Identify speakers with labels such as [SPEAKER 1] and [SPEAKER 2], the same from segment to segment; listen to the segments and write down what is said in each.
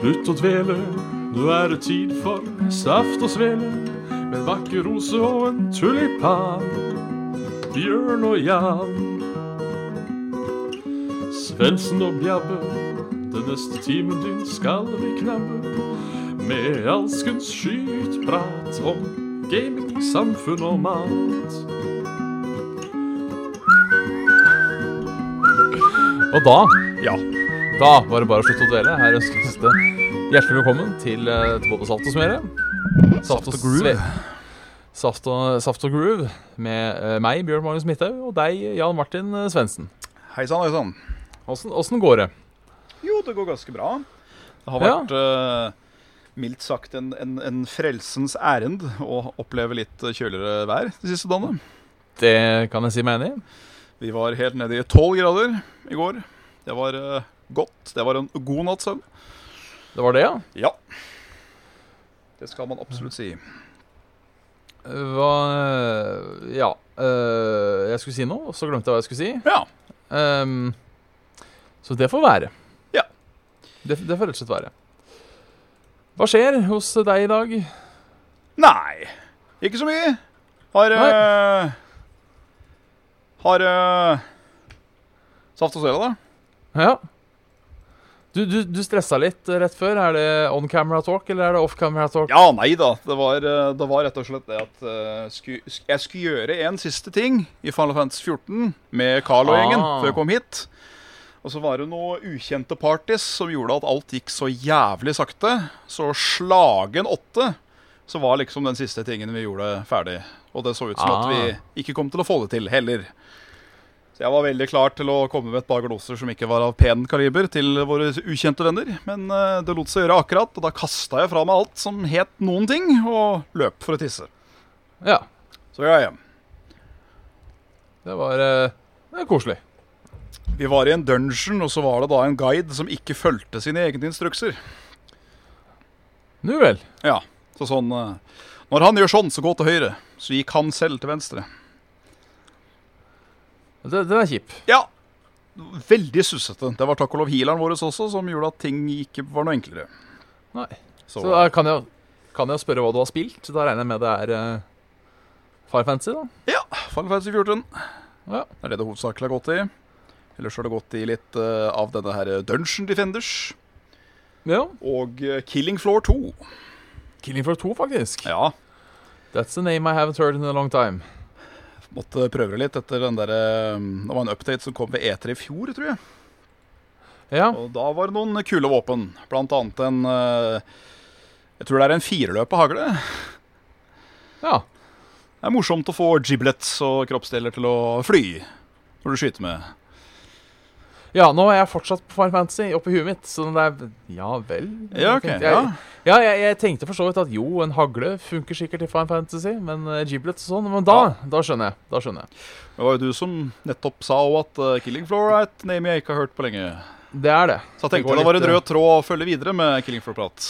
[SPEAKER 1] Slutt å dvele, nå er det tid for saft og svele. Med en vakker rose og en tulipan. Bjørn og Jan. Svendsen og Bjabbe, den neste timen din skal vi knabbe. Med alskens skytprat om gaming, samfunn og mat.
[SPEAKER 2] Og da,
[SPEAKER 3] Ja.
[SPEAKER 2] da var det bare å slutte å dvele. Her ønskes det hjertelig velkommen til, eh, til både Saft og Smøre. Saft og
[SPEAKER 3] groove.
[SPEAKER 2] Sve- Saft og, saft og Groove med eh, meg, Bjørn Magnus Midthaug, og deg, Jan Martin eh, Svendsen.
[SPEAKER 3] Hei sann, hei sann.
[SPEAKER 2] Åssen åssen går det?
[SPEAKER 3] Jo, det går ganske bra. Det har
[SPEAKER 2] Ja.
[SPEAKER 3] vært eh, mildt sagt en, en, en frelsens ærend å oppleve litt eh, kjøligere vær de siste dagene.
[SPEAKER 2] Det kan jeg si meg enig i.
[SPEAKER 3] Vi var helt nede i tolv grader i går. Det var eh, godt. Det var en god natts søvn.
[SPEAKER 2] Det var det, ja.
[SPEAKER 3] Ja. Det skal man absolutt si.
[SPEAKER 2] Hva Ja. eh, jeg skulle si noe, og så glemte jeg hva jeg skulle si.
[SPEAKER 3] Ja.
[SPEAKER 2] Ehm, så det får være.
[SPEAKER 3] Ja.
[SPEAKER 2] Det, det får rett og slett være. Hva skjer hos deg i dag?
[SPEAKER 3] Nei, ikke så mye. Har eh, Har eh, Saft og svele, da?
[SPEAKER 2] Ja. Du, du, du stressa litt eh, rett før. Er det on camera talk, eller er det off camera talk?
[SPEAKER 3] Ja, nei da. Det var, eh, det var rett og slett det at eh, sku, sk- jeg skulle gjøre en siste ting i Final Fantasy 14 med Carl og gjengen
[SPEAKER 2] Ah.
[SPEAKER 3] før jeg kom hit. Og så var det noen ukjente parties som gjorde at alt gikk så jævlig sakte. Så slagen åtte så var liksom den siste tingen vi gjorde ferdig. Og det så ut som
[SPEAKER 2] Ah.
[SPEAKER 3] at vi ikke kom til å få det til heller. Så jeg var veldig klar til å komme med et par gloser som ikke var av pen kaliber til våre ukjente venner, men eh, det lot seg gjøre akkurat, og da kasta jeg fra meg alt som het noen ting, og løp for å tisse.
[SPEAKER 2] Ja.
[SPEAKER 3] Så jeg er hjem.
[SPEAKER 2] Det var eh, det er koselig.
[SPEAKER 3] Vi var i en dungeon, og så var det da en guide som ikke fulgte sine egne instrukser.
[SPEAKER 2] Nu vel.
[SPEAKER 3] Ja, så sånn eh, Når han gjør sånn, så gå til høyre. Så gikk han selv til venstre.
[SPEAKER 2] Det- Den er kjip.
[SPEAKER 3] Ja, veldig sussete. Det var takk og lov healeren vår også som gjorde at ting ikke var noe enklere.
[SPEAKER 2] Nei.
[SPEAKER 3] Så,
[SPEAKER 2] Så da kan jeg, kan jeg spørre hva du har spilt. Da regner jeg med det er eh, Fire Fantasy, da.
[SPEAKER 3] Ja, Final Fantasy 14.
[SPEAKER 2] Ja.
[SPEAKER 3] Det er det det hovedsakelig har gått i. Ellers har det gått i litt eh, av denne her Dungeon Defenders
[SPEAKER 2] Ja.
[SPEAKER 3] og eh, Killing Floor 2.
[SPEAKER 2] Killing Floor 2, faktisk.
[SPEAKER 3] Ja,
[SPEAKER 2] That's a name I haven't heard in a long time.
[SPEAKER 3] måtte prøve det litt etter den derre Det var en update som kom ved E3 i fjor, tror jeg.
[SPEAKER 2] Ja.
[SPEAKER 3] Og da var det noen kule våpen. Blant annet en eh, Jeg tror det er en fireløpa hagle.
[SPEAKER 2] ja.
[SPEAKER 3] Det er morsomt å få giblets og kroppsdeler til å fly når du skyter med.
[SPEAKER 2] Ja, nå er jeg fortsatt på Final Fantasy oppi huet mitt, så det er Ja vel?
[SPEAKER 3] Ja, ok.
[SPEAKER 2] tenkte
[SPEAKER 3] Ja.
[SPEAKER 2] jeg, ja jeg, jeg tenkte for så vidt at jo, en hagle funker sikkert i Final Fantasy, men uh, giblets og sånn Men da, da skjønner jeg. Da skjønner jeg.
[SPEAKER 3] Det var jo du som nettopp sa også at eh, Killing Floor er et name jeg ikke har hørt på lenge.
[SPEAKER 2] Det er det.
[SPEAKER 3] Så jeg
[SPEAKER 2] Det
[SPEAKER 3] tenkte
[SPEAKER 2] går
[SPEAKER 3] det, var
[SPEAKER 2] litt,
[SPEAKER 3] en rød tråd å følge videre med Killing Floor-prat.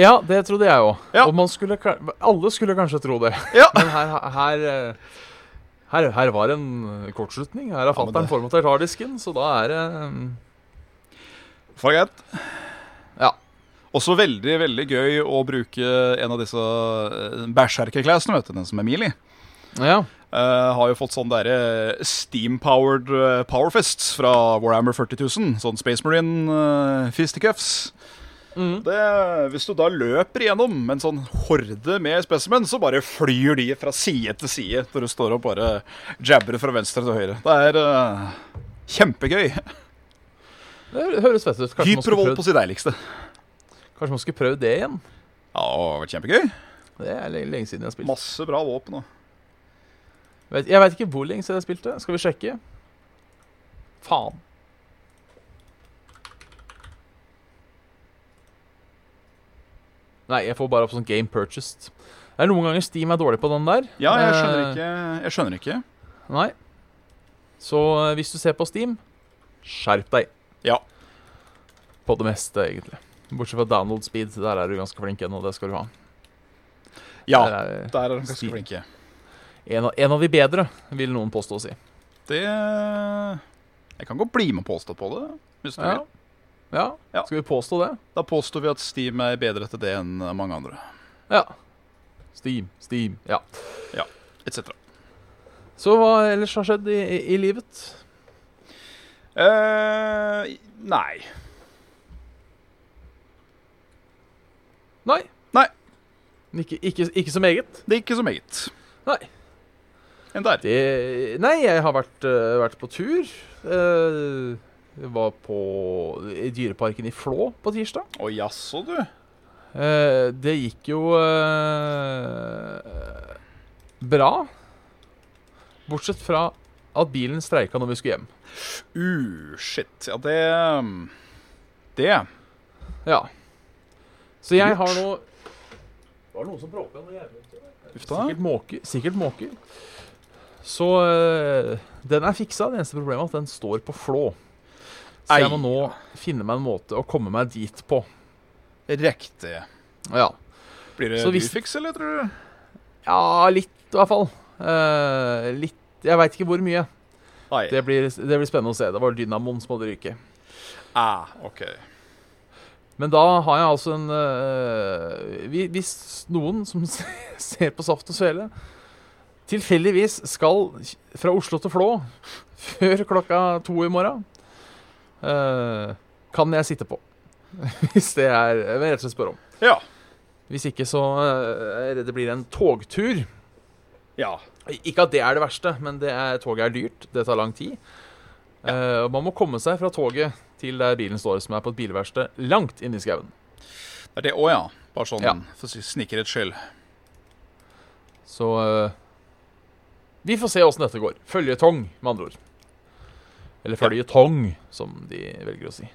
[SPEAKER 2] Ja, det trodde jeg òg.
[SPEAKER 3] Ja.
[SPEAKER 2] Og man skulle ka- Alle skulle kanskje tro det.
[SPEAKER 3] Ja.
[SPEAKER 2] Men her, her, eh, her, her var en eh, kortslutning. Her har
[SPEAKER 3] Ja, men
[SPEAKER 2] fatter'n
[SPEAKER 3] det-
[SPEAKER 2] formatert harddisken, så da er det eh,
[SPEAKER 3] For greit.
[SPEAKER 2] Ja.
[SPEAKER 3] Også veldig, veldig gøy å bruke en av disse eh, bæsjerker-classene, vet du, den som er Mealy.
[SPEAKER 2] Ja.
[SPEAKER 3] Eh, har jo fått sånn derre steam-powered eh, powerfists fra Warhammer 40.000. Sånn Space Marine uh, fisticuffs.
[SPEAKER 2] Mhm.
[SPEAKER 3] Det, hvis du da løper igjennom en sånn horde med spesimen, så bare flyr de fra side til side når du står og bare jabber fra venstre til høyre. Det er eh, kjempegøy.
[SPEAKER 2] Det høres fett ut. Kanskje man skulle
[SPEAKER 3] Hypervold
[SPEAKER 2] prøvd-
[SPEAKER 3] på sitt deiligste.
[SPEAKER 2] Kanskje man skulle prøvd det igjen.
[SPEAKER 3] Ja, det har vært kjempegøy.
[SPEAKER 2] Det er le- lenge siden jeg har spilt.
[SPEAKER 3] Masse bra våpen. Og.
[SPEAKER 2] Vet, jeg veit ikke hvor lenge siden jeg spilte. Skal vi sjekke? Faen. Nei, jeg får bare opp sånn Game Purchased. Det er noen ganger Steam er dårlig på den der.
[SPEAKER 3] Ja, jeg skjønner
[SPEAKER 2] Eh,
[SPEAKER 3] ikke. Jeg skjønner ikke.
[SPEAKER 2] Nei. Så eh, hvis du ser på Steam, skjerp deg.
[SPEAKER 3] Ja.
[SPEAKER 2] På det meste, egentlig. Bortsett fra download speed. Der er du ganske flink ennå. Det skal du ha.
[SPEAKER 3] Ja,
[SPEAKER 2] Der er
[SPEAKER 3] der er de ganske
[SPEAKER 2] Steam.
[SPEAKER 3] flinke.
[SPEAKER 2] en, av, en av de bedre, vil noen påstå å si.
[SPEAKER 3] eh, Det Jeg kan godt bli med og påstå på det. Hvis du
[SPEAKER 2] Ja.
[SPEAKER 3] vil.
[SPEAKER 2] Ja.
[SPEAKER 3] Ja.
[SPEAKER 2] Skal vi påstå det?
[SPEAKER 3] Da påstår vi at Steam er bedre til det enn mange andre,
[SPEAKER 2] Ja. Steam, Steam. Ja.
[SPEAKER 3] etc.
[SPEAKER 2] Så hva ellers har skjedd i, i, i livet?
[SPEAKER 3] eh nei.
[SPEAKER 2] Nei.
[SPEAKER 3] Nei.
[SPEAKER 2] Ikke, ikke, ikke så meget?
[SPEAKER 3] Det er ikke så meget.
[SPEAKER 2] Nei.
[SPEAKER 3] Enn der.
[SPEAKER 2] Det, nei, jeg har vært, eh, vært på tur. Eh, jeg var på i Dyreparken i Flå på tirsdag.
[SPEAKER 3] Å jaså, du.
[SPEAKER 2] Eh, det gikk jo eh, bra. Bortsett fra at bilen streika når vi skulle hjem.
[SPEAKER 3] Uh, shit. Ja, det um, Det.
[SPEAKER 2] Ja. Så jeg
[SPEAKER 3] Lurt.
[SPEAKER 2] har nå Det var noen som bråka noe jævlig.
[SPEAKER 3] Uff da.
[SPEAKER 2] Sikkert måker. Sikkert måker. Så eh, den er fiksa. Det eneste problemet er at den står på flå. Så jeg
[SPEAKER 3] Ei.
[SPEAKER 2] må nå finne meg en måte å komme meg dit på.
[SPEAKER 3] Riktig.
[SPEAKER 2] Ja,
[SPEAKER 3] Blir det
[SPEAKER 2] Så hvis-
[SPEAKER 3] byfiks, eller, tror du?
[SPEAKER 2] ja litt i hvert fall. Eh, litt Jeg veit ikke hvor mye.
[SPEAKER 3] Nei.
[SPEAKER 2] Det blir, det blir spennende å se. Det var dynamoen som hadde ryket.
[SPEAKER 3] Ah, OK.
[SPEAKER 2] Men da har jeg altså en øh, hvi- Hvis noen som ser på Saft og Svele, tilfeldigvis skal fra Oslo til Flå før klokka to i morgen, øh, kan jeg sitte på. Hvis det er Jeg vil rett og slett spørre om.
[SPEAKER 3] Ja.
[SPEAKER 2] Hvis ikke, så øh, er jeg redd det blir en togtur.
[SPEAKER 3] Ja.
[SPEAKER 2] Ikke at det er det verste, men det er, toget er dyrt. Det tar lang tid. Eh, og man må komme seg fra toget til der bilen står, som er på et bilverksted langt inne i skauen.
[SPEAKER 3] Det er det òg, ja. Bare sånn
[SPEAKER 2] Ja.
[SPEAKER 3] for snikkerhets skyld.
[SPEAKER 2] Så eh, vi får se åssen dette går. Føljetong, med andre ord. Eller føljetong, som de velger å si.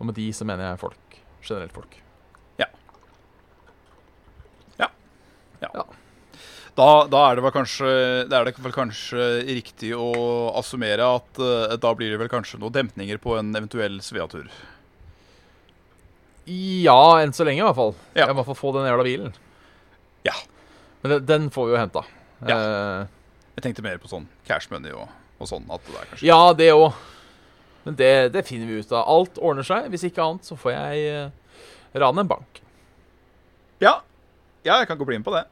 [SPEAKER 2] Og med de så mener jeg folk. Generelt folk.
[SPEAKER 3] Da, da er det vel kanskje Da er det vel kanskje riktig å assummere at eh, da blir det vel kanskje noen dempninger på en eventuell Svea-tur.
[SPEAKER 2] Ja, enn så lenge, i hvert fall.
[SPEAKER 3] Ja.
[SPEAKER 2] Jeg må i hvert fall få den jævla bilen.
[SPEAKER 3] Ja.
[SPEAKER 2] Men den, den får vi jo henta. Eh,
[SPEAKER 3] Jeg tenkte mer på sånn cash money og, og sånn. At det er kanskje
[SPEAKER 2] Ja, det òg. Men det, det finner vi ut av. Alt ordner seg. Hvis ikke annet, så får jeg eh, rane en bank.
[SPEAKER 3] Ja, ja jeg kan ikke bli med på det.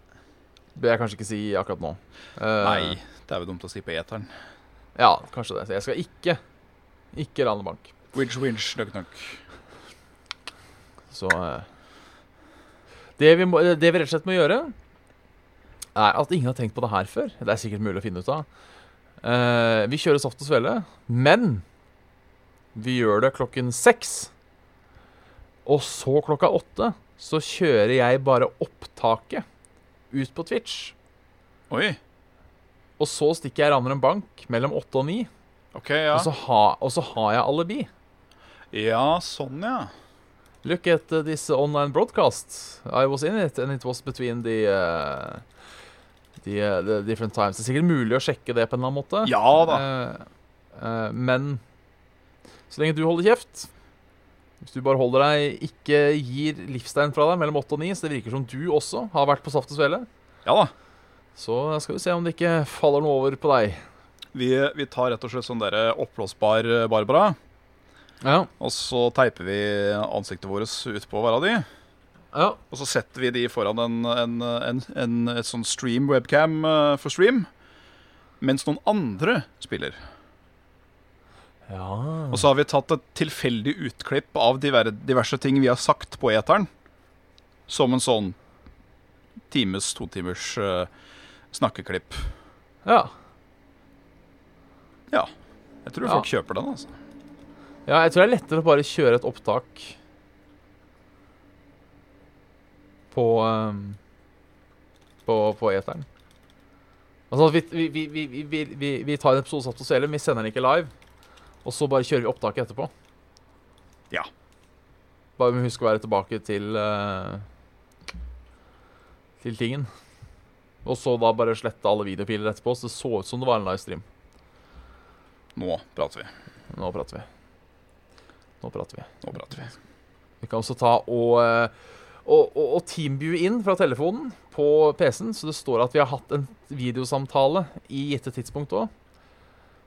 [SPEAKER 2] Det vil jeg kanskje ikke si akkurat nå. Eh,
[SPEAKER 3] Nei, det er jo dumt å si på eteren.
[SPEAKER 2] Ja, kanskje det. Så jeg skal ikke ikke rane bank.
[SPEAKER 3] Winch, winch, knock, knock.
[SPEAKER 2] Så eh, det, vi må, det vi rett og slett må gjøre, er at ingen har tenkt på det her før. Det er sikkert mulig å finne ut av. Eh, vi kjører Saft og Svele, men vi gjør det klokken seks. Og så klokka åtte så kjører jeg bare opptaket ut på Twitch.
[SPEAKER 3] Oi.
[SPEAKER 2] Og så stikker jeg Ranner en bank mellom åtte og ni,
[SPEAKER 3] OK, ja.
[SPEAKER 2] og, så ha, og så har jeg alibi.
[SPEAKER 3] Ja, sånn, ja.
[SPEAKER 2] Look at uh, this online broadcast. I was in it, and it was between the uh, the, uh, the different times. Det er sikkert mulig å sjekke det på en eller annen måte.
[SPEAKER 3] Ja da.
[SPEAKER 2] Eh, eh, men så lenge du holder kjeft Hvis du bare holder deg, ikke gir livstegn fra deg mellom åtte og ni, så det virker som du også har vært på Saft og Svele,
[SPEAKER 3] Ja da.
[SPEAKER 2] så skal vi se om det ikke faller noe over på deg.
[SPEAKER 3] Vi, vi tar rett og slett sånn derre oppblåsbar eh, Barbara,
[SPEAKER 2] Ja,
[SPEAKER 3] og så teiper vi ansiktet vårt ut på hver av de.
[SPEAKER 2] ja,
[SPEAKER 3] Og så setter vi de foran en, en, en, en, et sånn stream-webcam eh, for stream, mens noen andre spiller.
[SPEAKER 2] ja.
[SPEAKER 3] Og så har vi tatt et tilfeldig utklipp av diver- diverse ting vi har sagt på eteren, som en sånn times, to timers eh, snakkeklipp.
[SPEAKER 2] ja.
[SPEAKER 3] Ja. Jeg tror
[SPEAKER 2] Ja.
[SPEAKER 3] folk kjøper den, altså.
[SPEAKER 2] Ja, jeg tror det er lettere å bare kjøre et opptak på ehm, på, på eteren. Altså at vi, vi, vi, vi, vi, vi, vi tar en episode satt på Selum, vi sender den ikke live, og så bare kjører vi opptaket etterpå.
[SPEAKER 3] Ja.
[SPEAKER 2] Bare vi husker å være tilbake til eh, til tingen. Og så da bare slette alle videopiler etterpå, så det så ut som det var en livestream.
[SPEAKER 3] Nå prater vi.
[SPEAKER 2] Nå prater vi. Nå prater vi.
[SPEAKER 3] Nå prater vi.
[SPEAKER 2] Vi kan også ta og, eh, og, og, og teambue inn fra telefonen på PC-en, så det står at vi har hatt en videosamtale i gitte tidspunkt òg.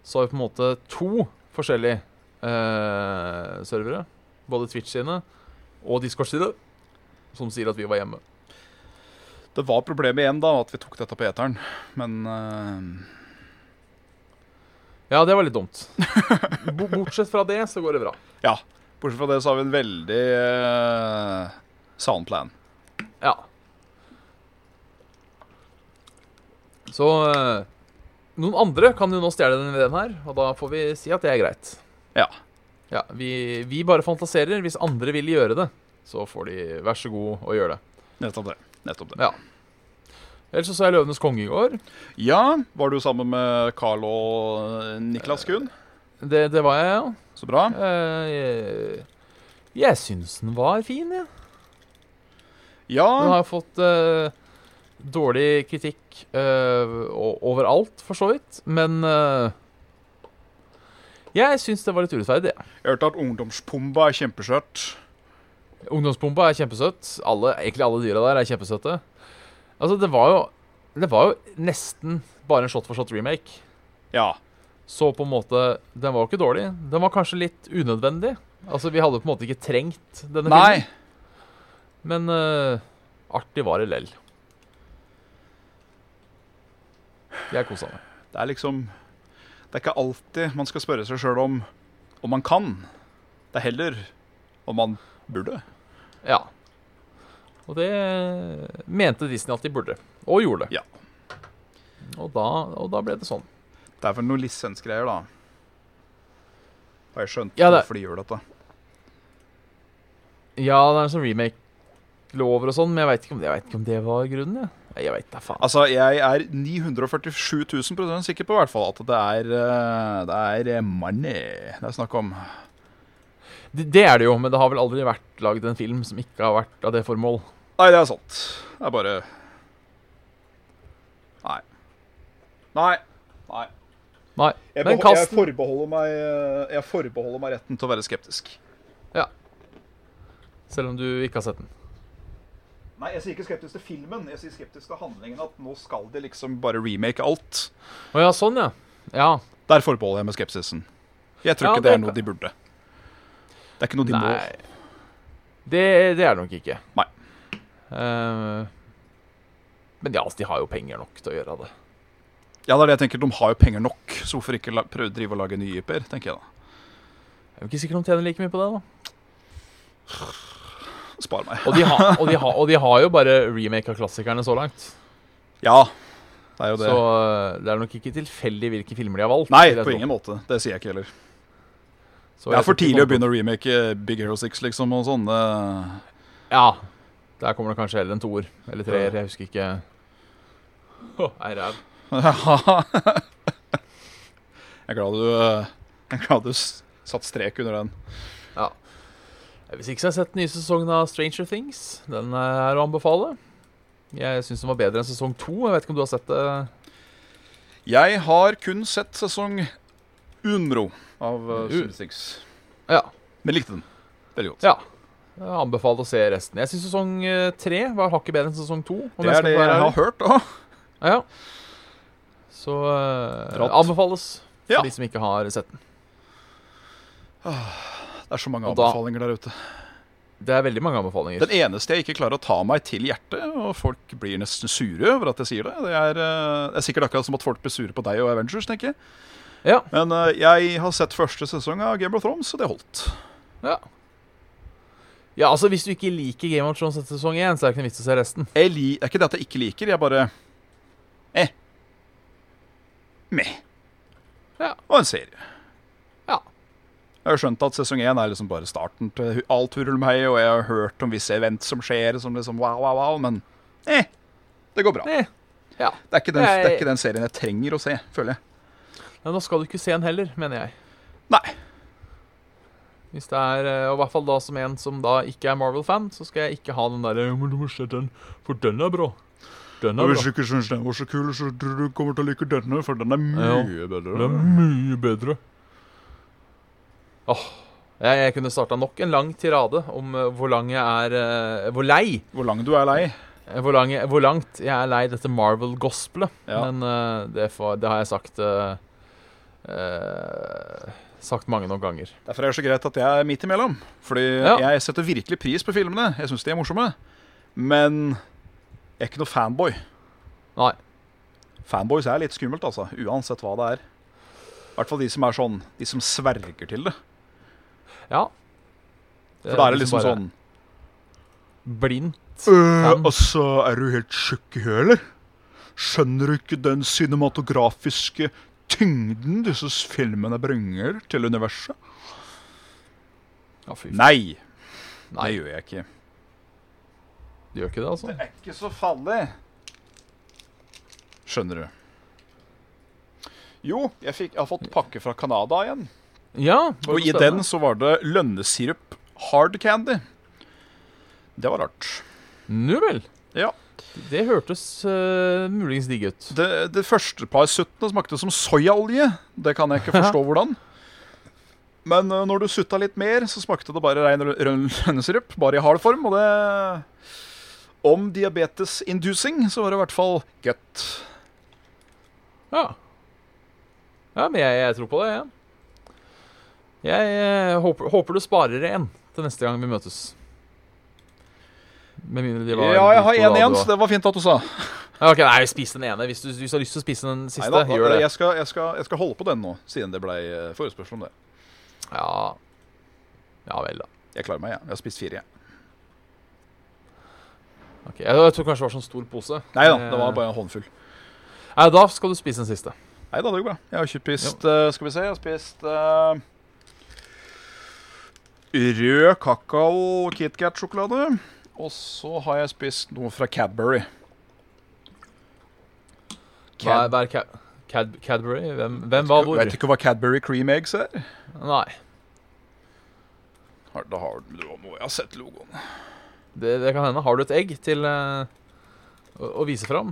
[SPEAKER 2] Så har vi på en måte to forskjellige eh, servere, både Twitch sine og Discord sine, som sier at vi var hjemme.
[SPEAKER 3] Det var problemet igjen da, at vi tok dette på eteren. Men eh,
[SPEAKER 2] Ja, det var litt dumt. Bo- Bortsett fra det, så går det bra.
[SPEAKER 3] ja, bortsett fra det så har vi en veldig eh, sound plan.
[SPEAKER 2] Ja. Så eh, noen andre kan jo nå stjele den ideen her, og da får vi si at det er greit.
[SPEAKER 3] Ja.
[SPEAKER 2] Ja, vi, vi bare fantaserer. Hvis andre vil gjøre det, så får de vær så god å gjøre det.
[SPEAKER 3] Nettopp det. Nettopp det.
[SPEAKER 2] Ja. Ellers så så jeg 'Løvenes konge' i går.
[SPEAKER 3] Ja, var du sammen med Carl og eh, Niklas Kuhn?
[SPEAKER 2] Det, det var jeg, ja.
[SPEAKER 3] Så bra.
[SPEAKER 2] Eh, jeg jeg syns den var fin, jeg. Den
[SPEAKER 3] Ja,
[SPEAKER 2] har fått eh, dårlig kritikk eh, o- overalt, for så vidt. Men eh, jeg syns det var litt urettferdig. jeg.
[SPEAKER 3] jeg hørte at ungdomspumba er kjempeskjørt.
[SPEAKER 2] Ungdomspumpa er kjempesøtt. Alle, egentlig alle dyra der er kjempesøtte. Altså, det var jo Det var jo nesten bare en shot for shot remake.
[SPEAKER 3] Ja.
[SPEAKER 2] Så på en måte Den var jo ikke dårlig. Den var kanskje litt unødvendig. Altså, vi hadde på en måte ikke trengt denne
[SPEAKER 3] Nei.
[SPEAKER 2] filmen. Men eh, artig var det lell. Jeg kosa meg.
[SPEAKER 3] Det er liksom Det er ikke alltid man skal spørre seg sjøl om om man kan. Det er heller om man burde.
[SPEAKER 2] Ja. Og det mente Disney at de burde, og gjorde det.
[SPEAKER 3] Ja.
[SPEAKER 2] Og da, og da ble det sånn.
[SPEAKER 3] Det er vel noen lisensgreier, da. Og jeg skjønte
[SPEAKER 2] Ja, det-
[SPEAKER 3] hvorfor de gjør dette.
[SPEAKER 2] Ja, det er en sånn remake-lover og sånn, men jeg veit ikke, om- jeg vet ikke om det var grunnen. Jeg, Nei, jeg veit da faen.
[SPEAKER 3] Altså, jeg er 947 000 sikker på i hvert fall at det er, eh, det er money det er snakk om.
[SPEAKER 2] Det, det er det jo, men det har vel aldri vært lagd en film som ikke har vært av det formål.
[SPEAKER 3] Nei, det er sant. Det er bare Nei. Nei. Nei.
[SPEAKER 2] Nei.
[SPEAKER 3] Jeg,
[SPEAKER 2] Men
[SPEAKER 3] beho- jeg,
[SPEAKER 2] kast den.
[SPEAKER 3] forbeholder meg, eh, jeg forbeholder meg retten til å være skeptisk.
[SPEAKER 2] Selv om du ikke har sett den.
[SPEAKER 3] Nei, jeg sier ikke skeptisk til filmen, jeg sier skeptisk til handlingen. At nå skal de liksom bare remake alt.
[SPEAKER 2] Å ja, sånn, ja. Ja.
[SPEAKER 3] Der forbeholder jeg meg skepsisen. Jeg tror
[SPEAKER 2] Ja,
[SPEAKER 3] ikke det er
[SPEAKER 2] det kan-
[SPEAKER 3] noe de burde. Det er ikke noe de må.
[SPEAKER 2] Nei. Det, det er det nok ikke.
[SPEAKER 3] Nei.
[SPEAKER 2] Eh, men ja, altså, de har jo penger nok til å gjøre det.
[SPEAKER 3] Ja, det er det jeg tenker. De har jo penger nok, så hvorfor ikke la prøve å drive og lage nye IP-er, tenker jeg da.
[SPEAKER 2] Jeg er jo ikke sikker om de tjener like mye på det, da.
[SPEAKER 3] Spar meg.
[SPEAKER 2] Og de, har- og, de har- og de har jo bare remake av klassikerne så langt.
[SPEAKER 3] Ja, det er jo det.
[SPEAKER 2] Så øh, det er nok ikke tilfeldig hvilke filmer de har valgt.
[SPEAKER 3] Nei,
[SPEAKER 2] vil jeg
[SPEAKER 3] på
[SPEAKER 2] tro.
[SPEAKER 3] ingen måte. Det sier jeg ikke heller.
[SPEAKER 2] Så
[SPEAKER 3] Det
[SPEAKER 2] jeg
[SPEAKER 3] er for
[SPEAKER 2] tror ikke
[SPEAKER 3] tidlig å
[SPEAKER 2] kommer
[SPEAKER 3] begynne å remake eh, Big Hero 6, liksom, og sånn. Det-
[SPEAKER 2] til- Ja. Der kommer det kanskje heller en toer eller treer. Jeg husker ikke. Åh, Ei ræv.
[SPEAKER 3] jeg er glad du, eh, jeg er glad du s- satt strek under den.
[SPEAKER 2] Ja. Eh, Hvis ikke så har jeg sett den nye sesongen av Stranger Things. Den eh, er å anbefale. Jeg syns den var bedre enn sesong to. Jeg vet ikke om du har sett eh, det?
[SPEAKER 3] Jeg har kun sett sesong Unro av eh,
[SPEAKER 2] U-
[SPEAKER 3] Stranger Things.
[SPEAKER 2] Ja.
[SPEAKER 3] Men likte den. Veldig godt.
[SPEAKER 2] ja. Jeg anbefaler å se resten. Jeg syns sesong øh, tre var hakket bedre enn sesong to. om
[SPEAKER 3] Det
[SPEAKER 2] jeg
[SPEAKER 3] er
[SPEAKER 2] skal
[SPEAKER 3] det
[SPEAKER 2] være
[SPEAKER 3] jeg
[SPEAKER 2] ærlig.
[SPEAKER 3] har hørt òg.
[SPEAKER 2] Ja. Så eh,
[SPEAKER 3] Rått.
[SPEAKER 2] anbefales for
[SPEAKER 3] Ja.
[SPEAKER 2] de som ikke har sett den.
[SPEAKER 3] Det er så mange
[SPEAKER 2] Og da-
[SPEAKER 3] anbefalinger der ute.
[SPEAKER 2] Det er veldig mange anbefalinger.
[SPEAKER 3] Den eneste jeg ikke klarer å ta meg til hjertet, og folk blir nesten sure over at jeg sier det, det er, eh, det er sikkert akkurat som at folk blir sure på deg og Avengers, tenker jeg.
[SPEAKER 2] Ja,
[SPEAKER 3] Men eh, jeg har sett første sesong av Game of Thrones, og det holdt.
[SPEAKER 2] ja. ja, altså hvis du ikke liker Game of Thrones etter sesong 1, så er det ikke noen vits å se resten.
[SPEAKER 3] Jeg li det er ikke det at jeg ikke liker, jeg bare Eh. Meh.
[SPEAKER 2] Ja.
[SPEAKER 3] Og en serie.
[SPEAKER 2] Ja.
[SPEAKER 3] Jeg har skjønt at sesong én er liksom bare starten til hu- alt hurl meg, og jeg har hørt om visse event som skjer, som liksom wow, wow, wow, men eh. Det går bra. Det
[SPEAKER 2] Eh, ja.
[SPEAKER 3] er ikke den, det er
[SPEAKER 2] Jeg-
[SPEAKER 3] ikke den serien jeg trenger å se, føler jeg.
[SPEAKER 2] Men nå skal du ikke se den heller, mener jeg.
[SPEAKER 3] Nei.
[SPEAKER 2] Hvis det er, eh, og i hvert fall da som en som da ikke er Marvel-fan, så skal jeg ikke ha den eh, derre Men du må se den, for den er bra. Den er bra.
[SPEAKER 3] ikke syns den var så kul, så tror du kommer til å like denne, for den er
[SPEAKER 2] mye Den
[SPEAKER 3] bedre.
[SPEAKER 2] er mye bedre. Åh. Jeg, jeg kunne starta nok en lang tirade om eh, hvor lang jeg er eh, Hvor lei
[SPEAKER 3] Hvor lang du er lei.
[SPEAKER 2] Eh, Hvor, lang, hvor langt jeg er lei dette Marvel-gospelet.
[SPEAKER 3] Ja.
[SPEAKER 2] Men eh, det, får, det har jeg sagt eh, eh, sagt mange nok ganger.
[SPEAKER 3] Derfor er det så greit at jeg er midt imellom. Fordi
[SPEAKER 2] Ja.
[SPEAKER 3] jeg setter virkelig pris på filmene. Jeg syns de er morsomme. Men jeg er ikke noe fanboy.
[SPEAKER 2] Nei.
[SPEAKER 3] Fanboys er litt skummelt, altså. Uansett hva det er. I hvert fall de som er sånn De som sverger til det.
[SPEAKER 2] Ja.
[SPEAKER 3] For da er det liksom
[SPEAKER 2] liksom bare
[SPEAKER 3] sånn
[SPEAKER 2] Blind.
[SPEAKER 3] «Øh,
[SPEAKER 2] Fan.
[SPEAKER 3] Altså, er du helt tjukk i huet, eller? Skjønner du ikke den cinematografiske tyngden disse filmene bringer til universet?
[SPEAKER 2] Ja, fy faen.
[SPEAKER 3] Nei,
[SPEAKER 2] Nei,
[SPEAKER 3] det gjør jeg ikke.
[SPEAKER 2] du gjør ikke det, altså.
[SPEAKER 3] er ikke så farlig. Skjønner du. Jo, jeg, fikk, jeg har fått pakke fra Canada igjen.
[SPEAKER 2] Ja.
[SPEAKER 3] Og i den så var det lønnesirup hard candy. Det var rart.
[SPEAKER 2] Nu vel.
[SPEAKER 3] Ja.
[SPEAKER 2] Det hørtes eh, muligens digg ut.
[SPEAKER 3] Det, det første par suttene smakte som soyaolje. Det kan jeg ikke forstå hvordan. Men eh, når du sutta litt mer, så smakte det bare rein rø- rønn lønnesirup. Bare i hard form. Og det Om diabetes-inducing, så var det i hvert fall godt.
[SPEAKER 2] Ja. Ja, men jeg, jeg tror på det, jeg. Jeg eh, håper, håper du sparer en til neste gang vi møtes. Med mindre de var
[SPEAKER 3] Ja, jeg har
[SPEAKER 2] dritgode
[SPEAKER 3] én
[SPEAKER 2] da,
[SPEAKER 3] igjen,
[SPEAKER 2] du
[SPEAKER 3] så det var fint at du sa.
[SPEAKER 2] var- Ja, ok, nei, spis den ene. Hvis du, hvis du har lyst til å spise den siste,
[SPEAKER 3] Neida, da-
[SPEAKER 2] gjør det.
[SPEAKER 3] Jeg, skal, jeg, skal, jeg skal holde på den nå, siden det ble eh, forespørsel om det.
[SPEAKER 2] Ja. ja vel, da.
[SPEAKER 3] Jeg klarer meg, jeg. Jeg har spist fire, jeg.
[SPEAKER 2] Ok, Jeg, jeg tror kanskje det var sånn stor pose.
[SPEAKER 3] Nei da, det var bare en håndfull.
[SPEAKER 2] Nei, da skal du spise den siste.
[SPEAKER 3] Nei da, det går bra. Jeg har ikke spist eh, Skal vi se, jeg har spist eh, Rød kakao KitKat-sjokolade. Og så har jeg spist noe fra Cadbury.
[SPEAKER 2] Hva er,
[SPEAKER 3] Cad-
[SPEAKER 2] hva er Cad Cad Cadbury? Hvem, hvem var hvor?
[SPEAKER 3] Vet du ikke hva Cadbury Cream Eggs er?
[SPEAKER 2] Nei.
[SPEAKER 3] Har- Da har du noe Jeg har sett logoen.
[SPEAKER 2] Det, det kan hende. Har du et egg til eh, å, å vise fram?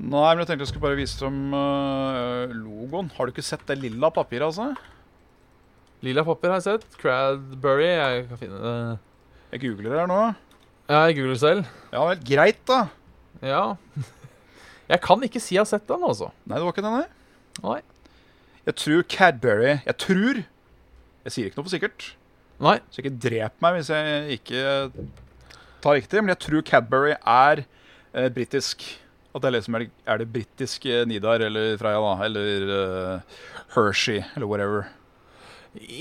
[SPEAKER 3] Nei, men jeg tenkte jeg skulle bare vise dem eh, logoen. Har du ikke sett det lilla papiret, altså?
[SPEAKER 2] Lilla papir har jeg sett. Cradbury Jeg kan finne det.
[SPEAKER 3] Jeg googler det her nå.
[SPEAKER 2] Ja, jeg googler selv.
[SPEAKER 3] Ja vel, greit da.
[SPEAKER 2] Ja. Jeg kan ikke si jeg har sett den, altså.
[SPEAKER 3] Nei, det var ikke den her.
[SPEAKER 2] Nei.
[SPEAKER 3] Jeg tror Cadbury Jeg tror Jeg sier ikke noe for sikkert,
[SPEAKER 2] Nei.
[SPEAKER 3] så ikke drep meg hvis jeg ikke tar riktig, men jeg tror Cadbury er eh, britisk. At det er liksom er det, er det britiske Nidar eller Freia, da, eller eh, Hershey, eller whatever.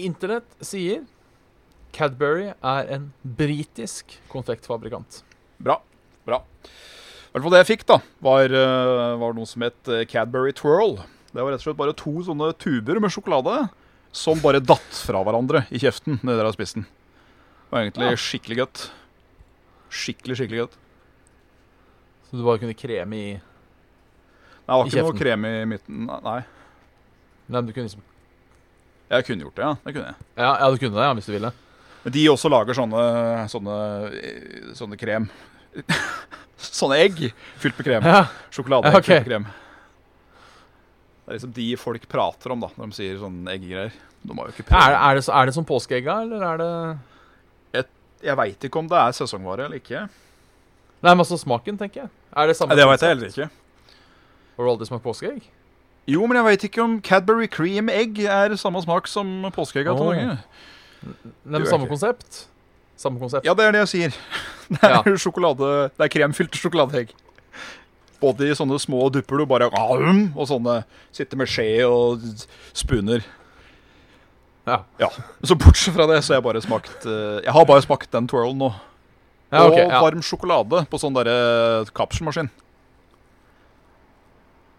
[SPEAKER 2] Internett sier Cadbury er en britisk konfektfabrikant.
[SPEAKER 3] Bra. Bra. I hvert fall det jeg fikk, da, var, eh, var noe som het eh, Cadbury Twirl. Det var rett og slett bare to sånne tuber med sjokolade som bare datt fra hverandre i kjeften når dere har spist den. Det var egentlig
[SPEAKER 2] Ja.
[SPEAKER 3] skikkelig godt. Skikkelig, skikkelig godt.
[SPEAKER 2] Så du bare kunne kreme i
[SPEAKER 3] Nei, det
[SPEAKER 2] I
[SPEAKER 3] var ikke noe
[SPEAKER 2] kjeften.
[SPEAKER 3] krem i midten. Nei,
[SPEAKER 2] Nei, men du kunne liksom
[SPEAKER 3] jeg kunne gjort det, ja. Det kunne jeg.
[SPEAKER 2] Ja, ja du kunne det, ja, hvis du ville.
[SPEAKER 3] Men de også lager sånne, sånne, eh, sånne krem. sånne egg fylt med krem.
[SPEAKER 2] Ja.
[SPEAKER 3] Sjokoladeegg
[SPEAKER 2] Ja, ok.
[SPEAKER 3] fylt med krem. Det er liksom de folk prater om da, når de sier sånne eggegreier. De har jo ikke
[SPEAKER 2] Er,
[SPEAKER 3] prøvd.
[SPEAKER 2] er, det, så- er det som påskeegga, eller er det
[SPEAKER 3] Jeg veit ikke om det er sesongvare eller ikke.
[SPEAKER 2] Nei, men altså smaken, tenker jeg. Er det samme?
[SPEAKER 3] Nei, det veit jeg heller ikke.
[SPEAKER 2] Har du aldri smakt påskeegg?
[SPEAKER 3] Jo, men jeg veit ikke om Cadbury cream egg er samme smak som påskeegga til
[SPEAKER 2] Åh.
[SPEAKER 3] Norge.
[SPEAKER 2] Nei,
[SPEAKER 3] Det
[SPEAKER 2] men
[SPEAKER 3] gjør jeg
[SPEAKER 2] samme
[SPEAKER 3] ikke.
[SPEAKER 2] konsept? Samme konsept.
[SPEAKER 3] Ja, det er det jeg sier. Det er, sjokolade, det er kremfylte sjokoladeegg. Både i sånne små dupper du bare «Aum!» Og sånne sitter med skje og spooner.
[SPEAKER 2] Ja.
[SPEAKER 3] Så bortsett fra det, så har jeg bare smakt eh, Jeg har bare smakt den twirlen nå.
[SPEAKER 2] Ja, ok,
[SPEAKER 3] og
[SPEAKER 2] ja.
[SPEAKER 3] varm sjokolade på sånn derre kapselmaskin.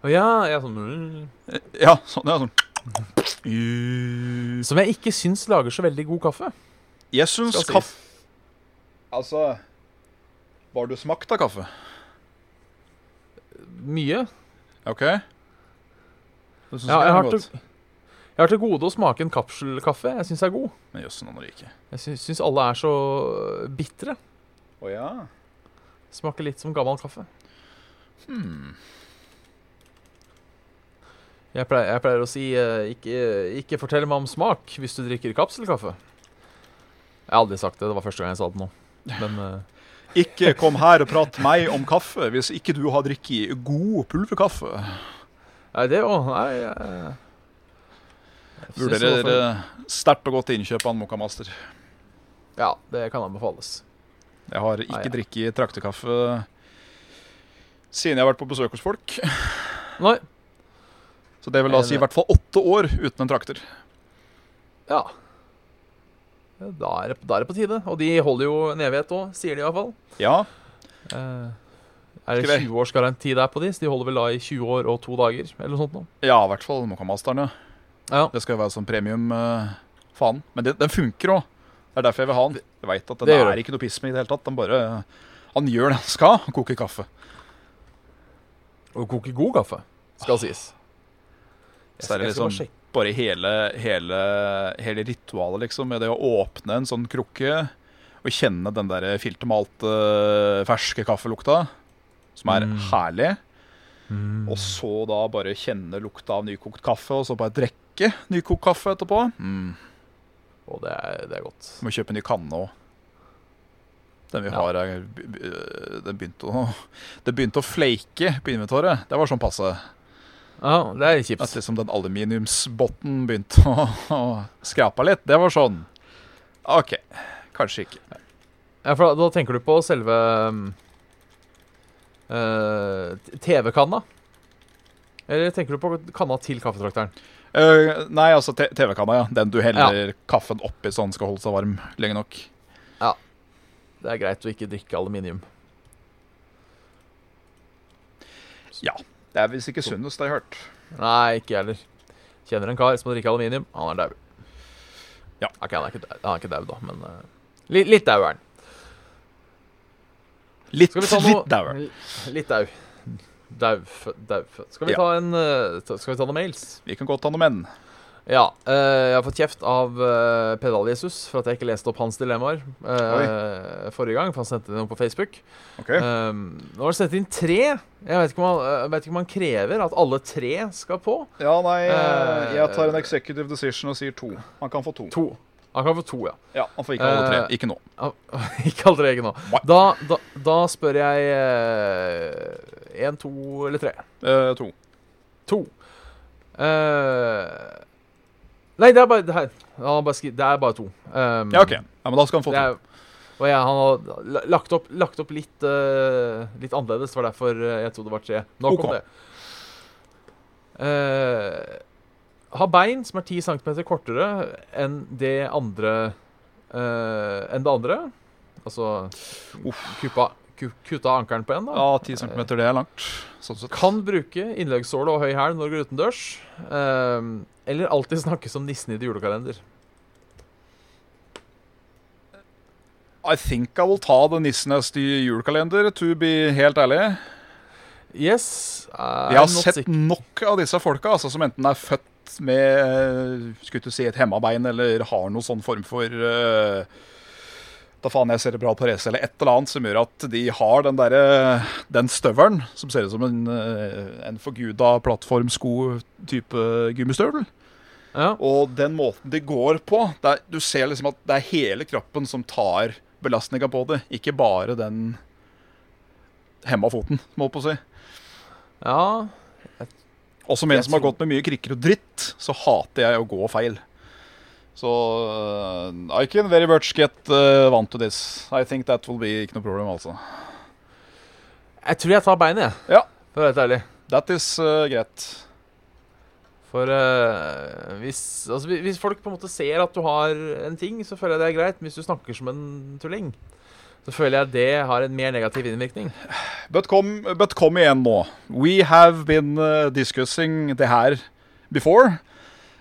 [SPEAKER 2] Å ja, ja, sånn
[SPEAKER 3] Ja, sånn, ja, sånn.
[SPEAKER 2] Som jeg ikke syns lager så veldig god kaffe.
[SPEAKER 3] Jeg syns
[SPEAKER 2] Skal sies.
[SPEAKER 3] kaffe Altså Var du smakt av kaffe?
[SPEAKER 2] Mye.
[SPEAKER 3] OK? Det syns
[SPEAKER 2] Ja, jeg,
[SPEAKER 3] jeg
[SPEAKER 2] har
[SPEAKER 3] er
[SPEAKER 2] til,
[SPEAKER 3] godt.
[SPEAKER 2] jeg har til gode å smake en kapselkaffe. Jeg syns er god.
[SPEAKER 3] Men jøssen, han ryker.
[SPEAKER 2] Jeg syns, syns alle er så øh, bitre.
[SPEAKER 3] Å ja.
[SPEAKER 2] Smaker litt som gammel kaffe.
[SPEAKER 3] Hmm.
[SPEAKER 2] Jeg pleier, jeg pleier å si eh, ikke, ikke fortell meg om smak hvis du drikker kapselkaffe. Jeg har aldri sagt det. Det var første gang jeg sa det nå. Men eh,
[SPEAKER 3] Ikke kom her og prat meg om kaffe hvis ikke du har drikket god pulverkaffe.
[SPEAKER 2] nei, det òg. Nei, jeg, synes det var
[SPEAKER 3] Vurderer
[SPEAKER 2] for-
[SPEAKER 3] eh, sterkt og godt innkjøp av en Moka Master.
[SPEAKER 2] Ja, det kan anbefales.
[SPEAKER 3] Jeg har
[SPEAKER 2] Ah,
[SPEAKER 3] ikke
[SPEAKER 2] ja.
[SPEAKER 3] drikket traktekaffe siden jeg har vært på besøk hos folk.
[SPEAKER 2] Nei.
[SPEAKER 3] Så det vil da
[SPEAKER 2] Er
[SPEAKER 3] si i
[SPEAKER 2] det-
[SPEAKER 3] hvert fall åtte år uten en trakter.
[SPEAKER 2] Ja. Ja, Da er, det, da er det på tide. Og de holder jo en evighet òg, sier de iallfall.
[SPEAKER 3] Ja,
[SPEAKER 2] Eh, er det
[SPEAKER 3] Skal vi-
[SPEAKER 2] 20 års garanti der på de, så de holder vel da i 20 år og to dager, eller noe sånt nå.
[SPEAKER 3] ja i hvert fall Moka Masteren, ja.
[SPEAKER 2] Ja.
[SPEAKER 3] Det skal jo være sånn premium eh, faen. Men det, den funker òg. Det er derfor jeg vil ha den. Jeg veit at den
[SPEAKER 2] det gjør
[SPEAKER 3] er ikke noe piss med i det hele tatt. Den bare Han gjør det han skal, han koker kaffe.
[SPEAKER 2] Og koker god kaffe, skal sies. Ah. Jeg
[SPEAKER 3] Så er
[SPEAKER 2] skal,
[SPEAKER 3] det
[SPEAKER 2] jeg skal bare
[SPEAKER 3] liksom-
[SPEAKER 2] sjekke.
[SPEAKER 3] Bare hele, hele, hele ritualet, liksom, med det å åpne en sånn krukke og kjenne den der filtermalte, ferske kaffelukta, som er
[SPEAKER 2] Mm.
[SPEAKER 3] herlig.
[SPEAKER 2] Mm.
[SPEAKER 3] Og så da bare kjenne lukta av nykokt kaffe, og så bare drikke nykokt kaffe etterpå. Mm.
[SPEAKER 2] Og det er, det er godt.
[SPEAKER 3] Må kjøpe ny kanne òg. Den vi
[SPEAKER 2] Ja.
[SPEAKER 3] har, er, b- b- øh, den begynte å Det begynte å flake på inventoret. Det var sånn passe.
[SPEAKER 2] Ja, det er
[SPEAKER 3] At
[SPEAKER 2] kjipt.
[SPEAKER 3] liksom den aluminiumsbotten begynte å, å skrape litt. Det var sånn. OK. Kanskje ikke.
[SPEAKER 2] Ja, for da, da tenker du på selve mm, eh, t- TV-kanna. Eller tenker du på kanna til kaffetrakteren?
[SPEAKER 3] Øh, nei, altså te- TV-kanna, ja. Den du heller kaffen oppi så den skal holde seg varm lenge nok.
[SPEAKER 2] Det er greit å ikke drikke aluminium.
[SPEAKER 3] Det er visst ikke sunnest, har jeg hørt.
[SPEAKER 2] Nei, ikke jeg heller. Kjenner en kar som drikker aluminium. Han er dau.
[SPEAKER 3] Ja.
[SPEAKER 2] Ok, han er ikke dau, han er ikke dau da, men eh, li, Litt dau er han.
[SPEAKER 3] Litt,
[SPEAKER 2] Skal vi ta noe
[SPEAKER 3] litt dauer.
[SPEAKER 2] L- Litt dau. Daufødt, daufødt. Skal vi
[SPEAKER 3] Ja.
[SPEAKER 2] ta en eh, ta- Skal vi ta noen mails?
[SPEAKER 3] Vi kan godt ta noen menn.
[SPEAKER 2] Ja. eh, jeg har fått kjeft av uh, Pedal-Jesus for at jeg ikke leste opp hans dilemmaer eh, forrige gang, for han sendte det noe på Facebook.
[SPEAKER 3] Ok.
[SPEAKER 2] Um, nå har han sendt inn tre. Jeg vet ikke om han, jeg vet ikke om han krever at alle tre skal på.
[SPEAKER 3] Ja, nei,
[SPEAKER 2] Eh,
[SPEAKER 3] jeg tar en executive decision og sier to. Han kan få to.
[SPEAKER 2] To. Han kan få to, ja.
[SPEAKER 3] Ja, Han får ikke alle tre.
[SPEAKER 2] Eh,
[SPEAKER 3] Ikke nå.
[SPEAKER 2] Ah, Ikke alle tre nå.
[SPEAKER 3] Nei.
[SPEAKER 2] Da, da, da spør jeg én, to eller tre.
[SPEAKER 3] Eh, to.
[SPEAKER 2] To. Eh, nei, det er bare det her. Han har bare skri det er bare to. Um,
[SPEAKER 3] Ja, OK. Ja, men da skal han få
[SPEAKER 2] Det
[SPEAKER 3] to.
[SPEAKER 2] er, og jeg, han har la- lagt opp, lagt opp litt, eh, litt annerledes. Det var derfor eh, jeg trodde det var tre. Nok
[SPEAKER 3] Ok.
[SPEAKER 2] om det. Eh, ha bein som er 10 cm kortere enn det andre eh, Enn det andre. Altså kuppa, ku, kutta ankelen på én, da.
[SPEAKER 3] Ja, ti centimeter, det er langt. Sånn sett.
[SPEAKER 2] Kan bruke innleggssåle og høy hæl når du går utendørs. eh, eller alltid snakke som nissen i det julekalender.
[SPEAKER 3] I think I will ta the Nissenes nye julekalender, to be helt ærlig.
[SPEAKER 2] Yes.
[SPEAKER 3] Jeg har sett nok av disse folka, altså, som enten er født med eh, skulle du si, et hemma bein, eller har noen sånn form for eh, da faen jeg cerebral parese eller et eller annet som gjør at de har den derre Den støvelen som ser ut som en, eh, en forguda plattformsko-type gummistøvel.
[SPEAKER 2] Ja.
[SPEAKER 3] Og den måten de går på det er, Du ser liksom at det er hele kroppen som tar belastninga på det, ikke bare den hemma foten, må jeg på å si.
[SPEAKER 2] ja.
[SPEAKER 3] Og som en
[SPEAKER 2] Jeg
[SPEAKER 3] som har
[SPEAKER 2] tror-
[SPEAKER 3] gått med mye krikker og dritt, så hater jeg å gå feil. Så uh, I can very much get uh, vant to this. I think that will be ikke noe problem, altså.
[SPEAKER 2] Jeg tror jeg tar beinet, jeg.
[SPEAKER 3] Ja.
[SPEAKER 2] For å være helt ærlig.
[SPEAKER 3] That is uh, greit.
[SPEAKER 2] For eh, hvis, altså, hvi- hvis folk på en måte ser at du har en ting, så føler jeg det er greit. Men hvis du snakker som en tulling, så føler jeg det har en mer negativ innvirkning.
[SPEAKER 3] But kom, but kom igjen nå. We have been uh, discussing det her before.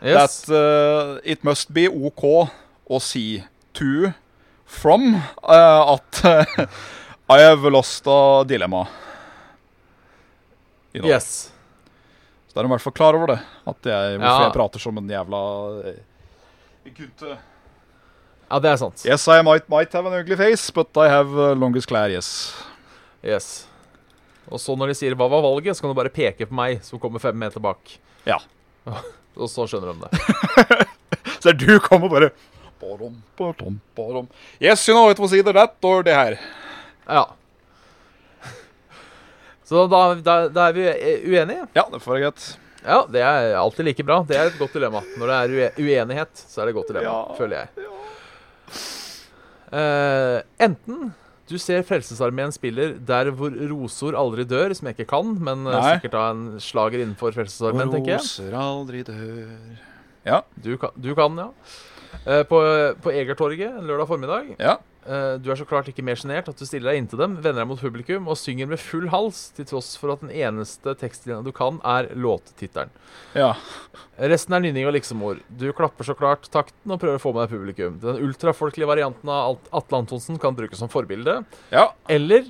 [SPEAKER 2] Yes.
[SPEAKER 3] that uh, it must be OK å si to from uh, at uh, I have lost a dilemma. You know.
[SPEAKER 2] yes.
[SPEAKER 3] Så da er de i hvert fall klar over det. At jeg, hvorfor
[SPEAKER 2] Ja.
[SPEAKER 3] jeg prater som en jævla eh, gutte.
[SPEAKER 2] Ja, det er sant.
[SPEAKER 3] Yes, I might, might have an ugly face, but I have uh, longest klær, yes.
[SPEAKER 2] Yes. Og så når de sier 'hva var valget', så kan du bare peke på meg, som kommer fem meter bak.
[SPEAKER 3] Ja.
[SPEAKER 2] Og så skjønner de det.
[SPEAKER 3] Så du kommer bare barom, barom, barom. Yes, you know, it was either that or det her.
[SPEAKER 2] Ja. Så da, da, da er vi eh, uenige.
[SPEAKER 3] Ja, det får være greit.
[SPEAKER 2] Ja, det er alltid like bra. Det er et godt dilemma. Når det er ue- uenighet, så er det et godt dilemma,
[SPEAKER 3] Ja.
[SPEAKER 2] føler jeg. Eh, enten du ser Frelsesarmeen spiller der hvor rosor aldri dør, som jeg ikke kan, men eh,
[SPEAKER 3] Nei.
[SPEAKER 2] sikkert da en slager innenfor Frelsesarmeen, tenker jeg.
[SPEAKER 3] Roser aldri dør
[SPEAKER 2] Du kan, du kan ja. Eh, på, på Egertorget en lørdag formiddag.
[SPEAKER 3] Ja.
[SPEAKER 2] Eh, du er så klart ikke mer sjenert at du stiller deg inntil dem, vender deg mot publikum og synger med full hals, til tross for at den eneste tekstlinja du kan, er låttittelen.
[SPEAKER 3] Ja.
[SPEAKER 2] Resten er nynning og liksomord. Du klapper så klart takten og prøver å få med deg publikum. Den ultrafolkelige varianten av Alt- Atle Antonsen kan brukes som forbilde.
[SPEAKER 3] ja.
[SPEAKER 2] Eller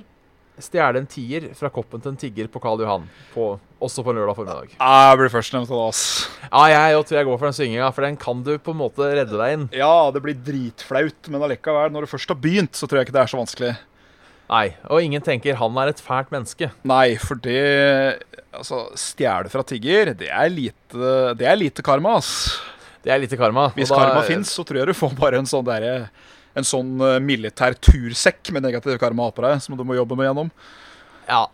[SPEAKER 2] stjele en tier fra koppen til en tigger på Karl Johan, på, også på en lørdag formiddag.
[SPEAKER 3] Jeg blir førstnevnt av det, ass.
[SPEAKER 2] Ja, jeg jo tror jeg går for den synginga, for den kan du på en måte redde deg inn.
[SPEAKER 3] Ja, det blir dritflaut, men allikevel, når du først har begynt, så tror jeg ikke det er så vanskelig.
[SPEAKER 2] Nei, og ingen tenker han er et fælt menneske.
[SPEAKER 3] Nei, for det Altså, stjele fra tigger, det er lite, det er lite karma, ass.
[SPEAKER 2] Det er lite karma. og
[SPEAKER 3] Hvis
[SPEAKER 2] da-
[SPEAKER 3] karma fins, så tror jeg du får bare en sånn derre en sånn eh, militær tursekk med negativ karma på deg, som du må jobbe med gjennom.
[SPEAKER 2] Ja.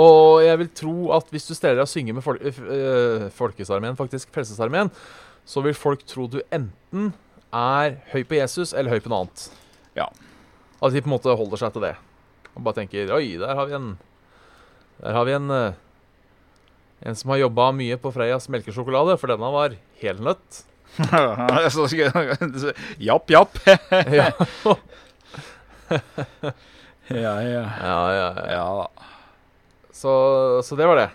[SPEAKER 2] Og jeg vil tro at hvis du steller deg og synger med fol øh, Folkesarmeen, faktisk Frelsesarmeen, så vil folk tro du enten er høy på Jesus eller høy på noe annet.
[SPEAKER 3] Ja.
[SPEAKER 2] At de på en måte holder seg til det. Og bare tenker Oi, der har vi en Der har vi en øh, En som har jobba mye på Freias melkesjokolade, for denne var helnøtt.
[SPEAKER 3] Så skal jeg- japp, japp.
[SPEAKER 2] ja,
[SPEAKER 3] Ja, ja.
[SPEAKER 2] ja, ja.
[SPEAKER 3] Ja da.
[SPEAKER 2] Så, så det var det.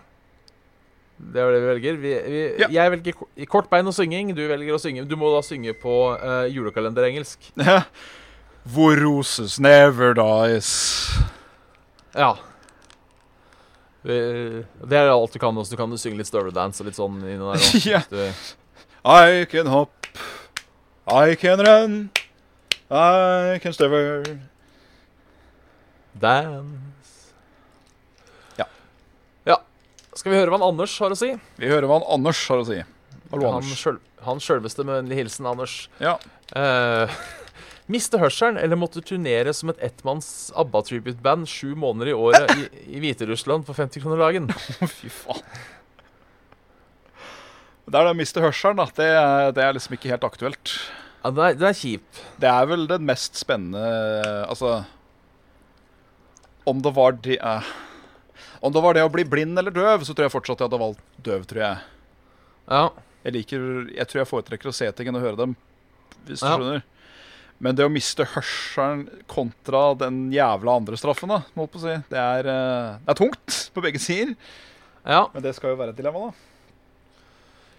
[SPEAKER 2] Det var det vi velger. Vi, vi,
[SPEAKER 3] Ja.
[SPEAKER 2] Jeg velger ko- i kort bein og synging. Du velger å synge. Du må da synge på uh, julekalenderengelsk.
[SPEAKER 3] Hvor roses never dies.
[SPEAKER 2] Ja. Vi- Det er alt du kan også. Du kan synge litt støveldance og litt sånn. inni der også,
[SPEAKER 3] Ja.
[SPEAKER 2] hvis du-
[SPEAKER 3] I can hop, I can run, I can stever.
[SPEAKER 2] Dance.
[SPEAKER 3] Ja.
[SPEAKER 2] ja. Skal vi høre hva han Anders har å si?
[SPEAKER 3] Vi hører hva han Anders har å si. Hallo,
[SPEAKER 2] han,
[SPEAKER 3] Anders.
[SPEAKER 2] sjøl- han sjølveste med vennlig hilsen Anders.
[SPEAKER 3] Ja.
[SPEAKER 2] Eh, miste hørselen eller måtte turnere som et ettmanns ABBA-tribute-band sju måneder i året i, i Hviterussland for 50 kroner dagen?
[SPEAKER 3] Fy faen. Det er det å miste hørselen, da. Det er, det er liksom ikke helt aktuelt.
[SPEAKER 2] Ja, den, er, den er kjip.
[SPEAKER 3] Det er vel den mest spennende Altså Om det var de eh, Om det var det å bli blind eller døv, så tror jeg fortsatt jeg hadde valgt døv, tror jeg.
[SPEAKER 2] Ja.
[SPEAKER 3] Jeg liker Jeg tror jeg foretrekker å se ting enn å høre dem, hvis du
[SPEAKER 2] Ja.
[SPEAKER 3] skjønner. Men det å miste hørselen kontra den jævla andre straffen, da, må jeg på å si, det er, eh, det er tungt på begge sider.
[SPEAKER 2] ja.
[SPEAKER 3] Men det skal jo være et dilemma, da.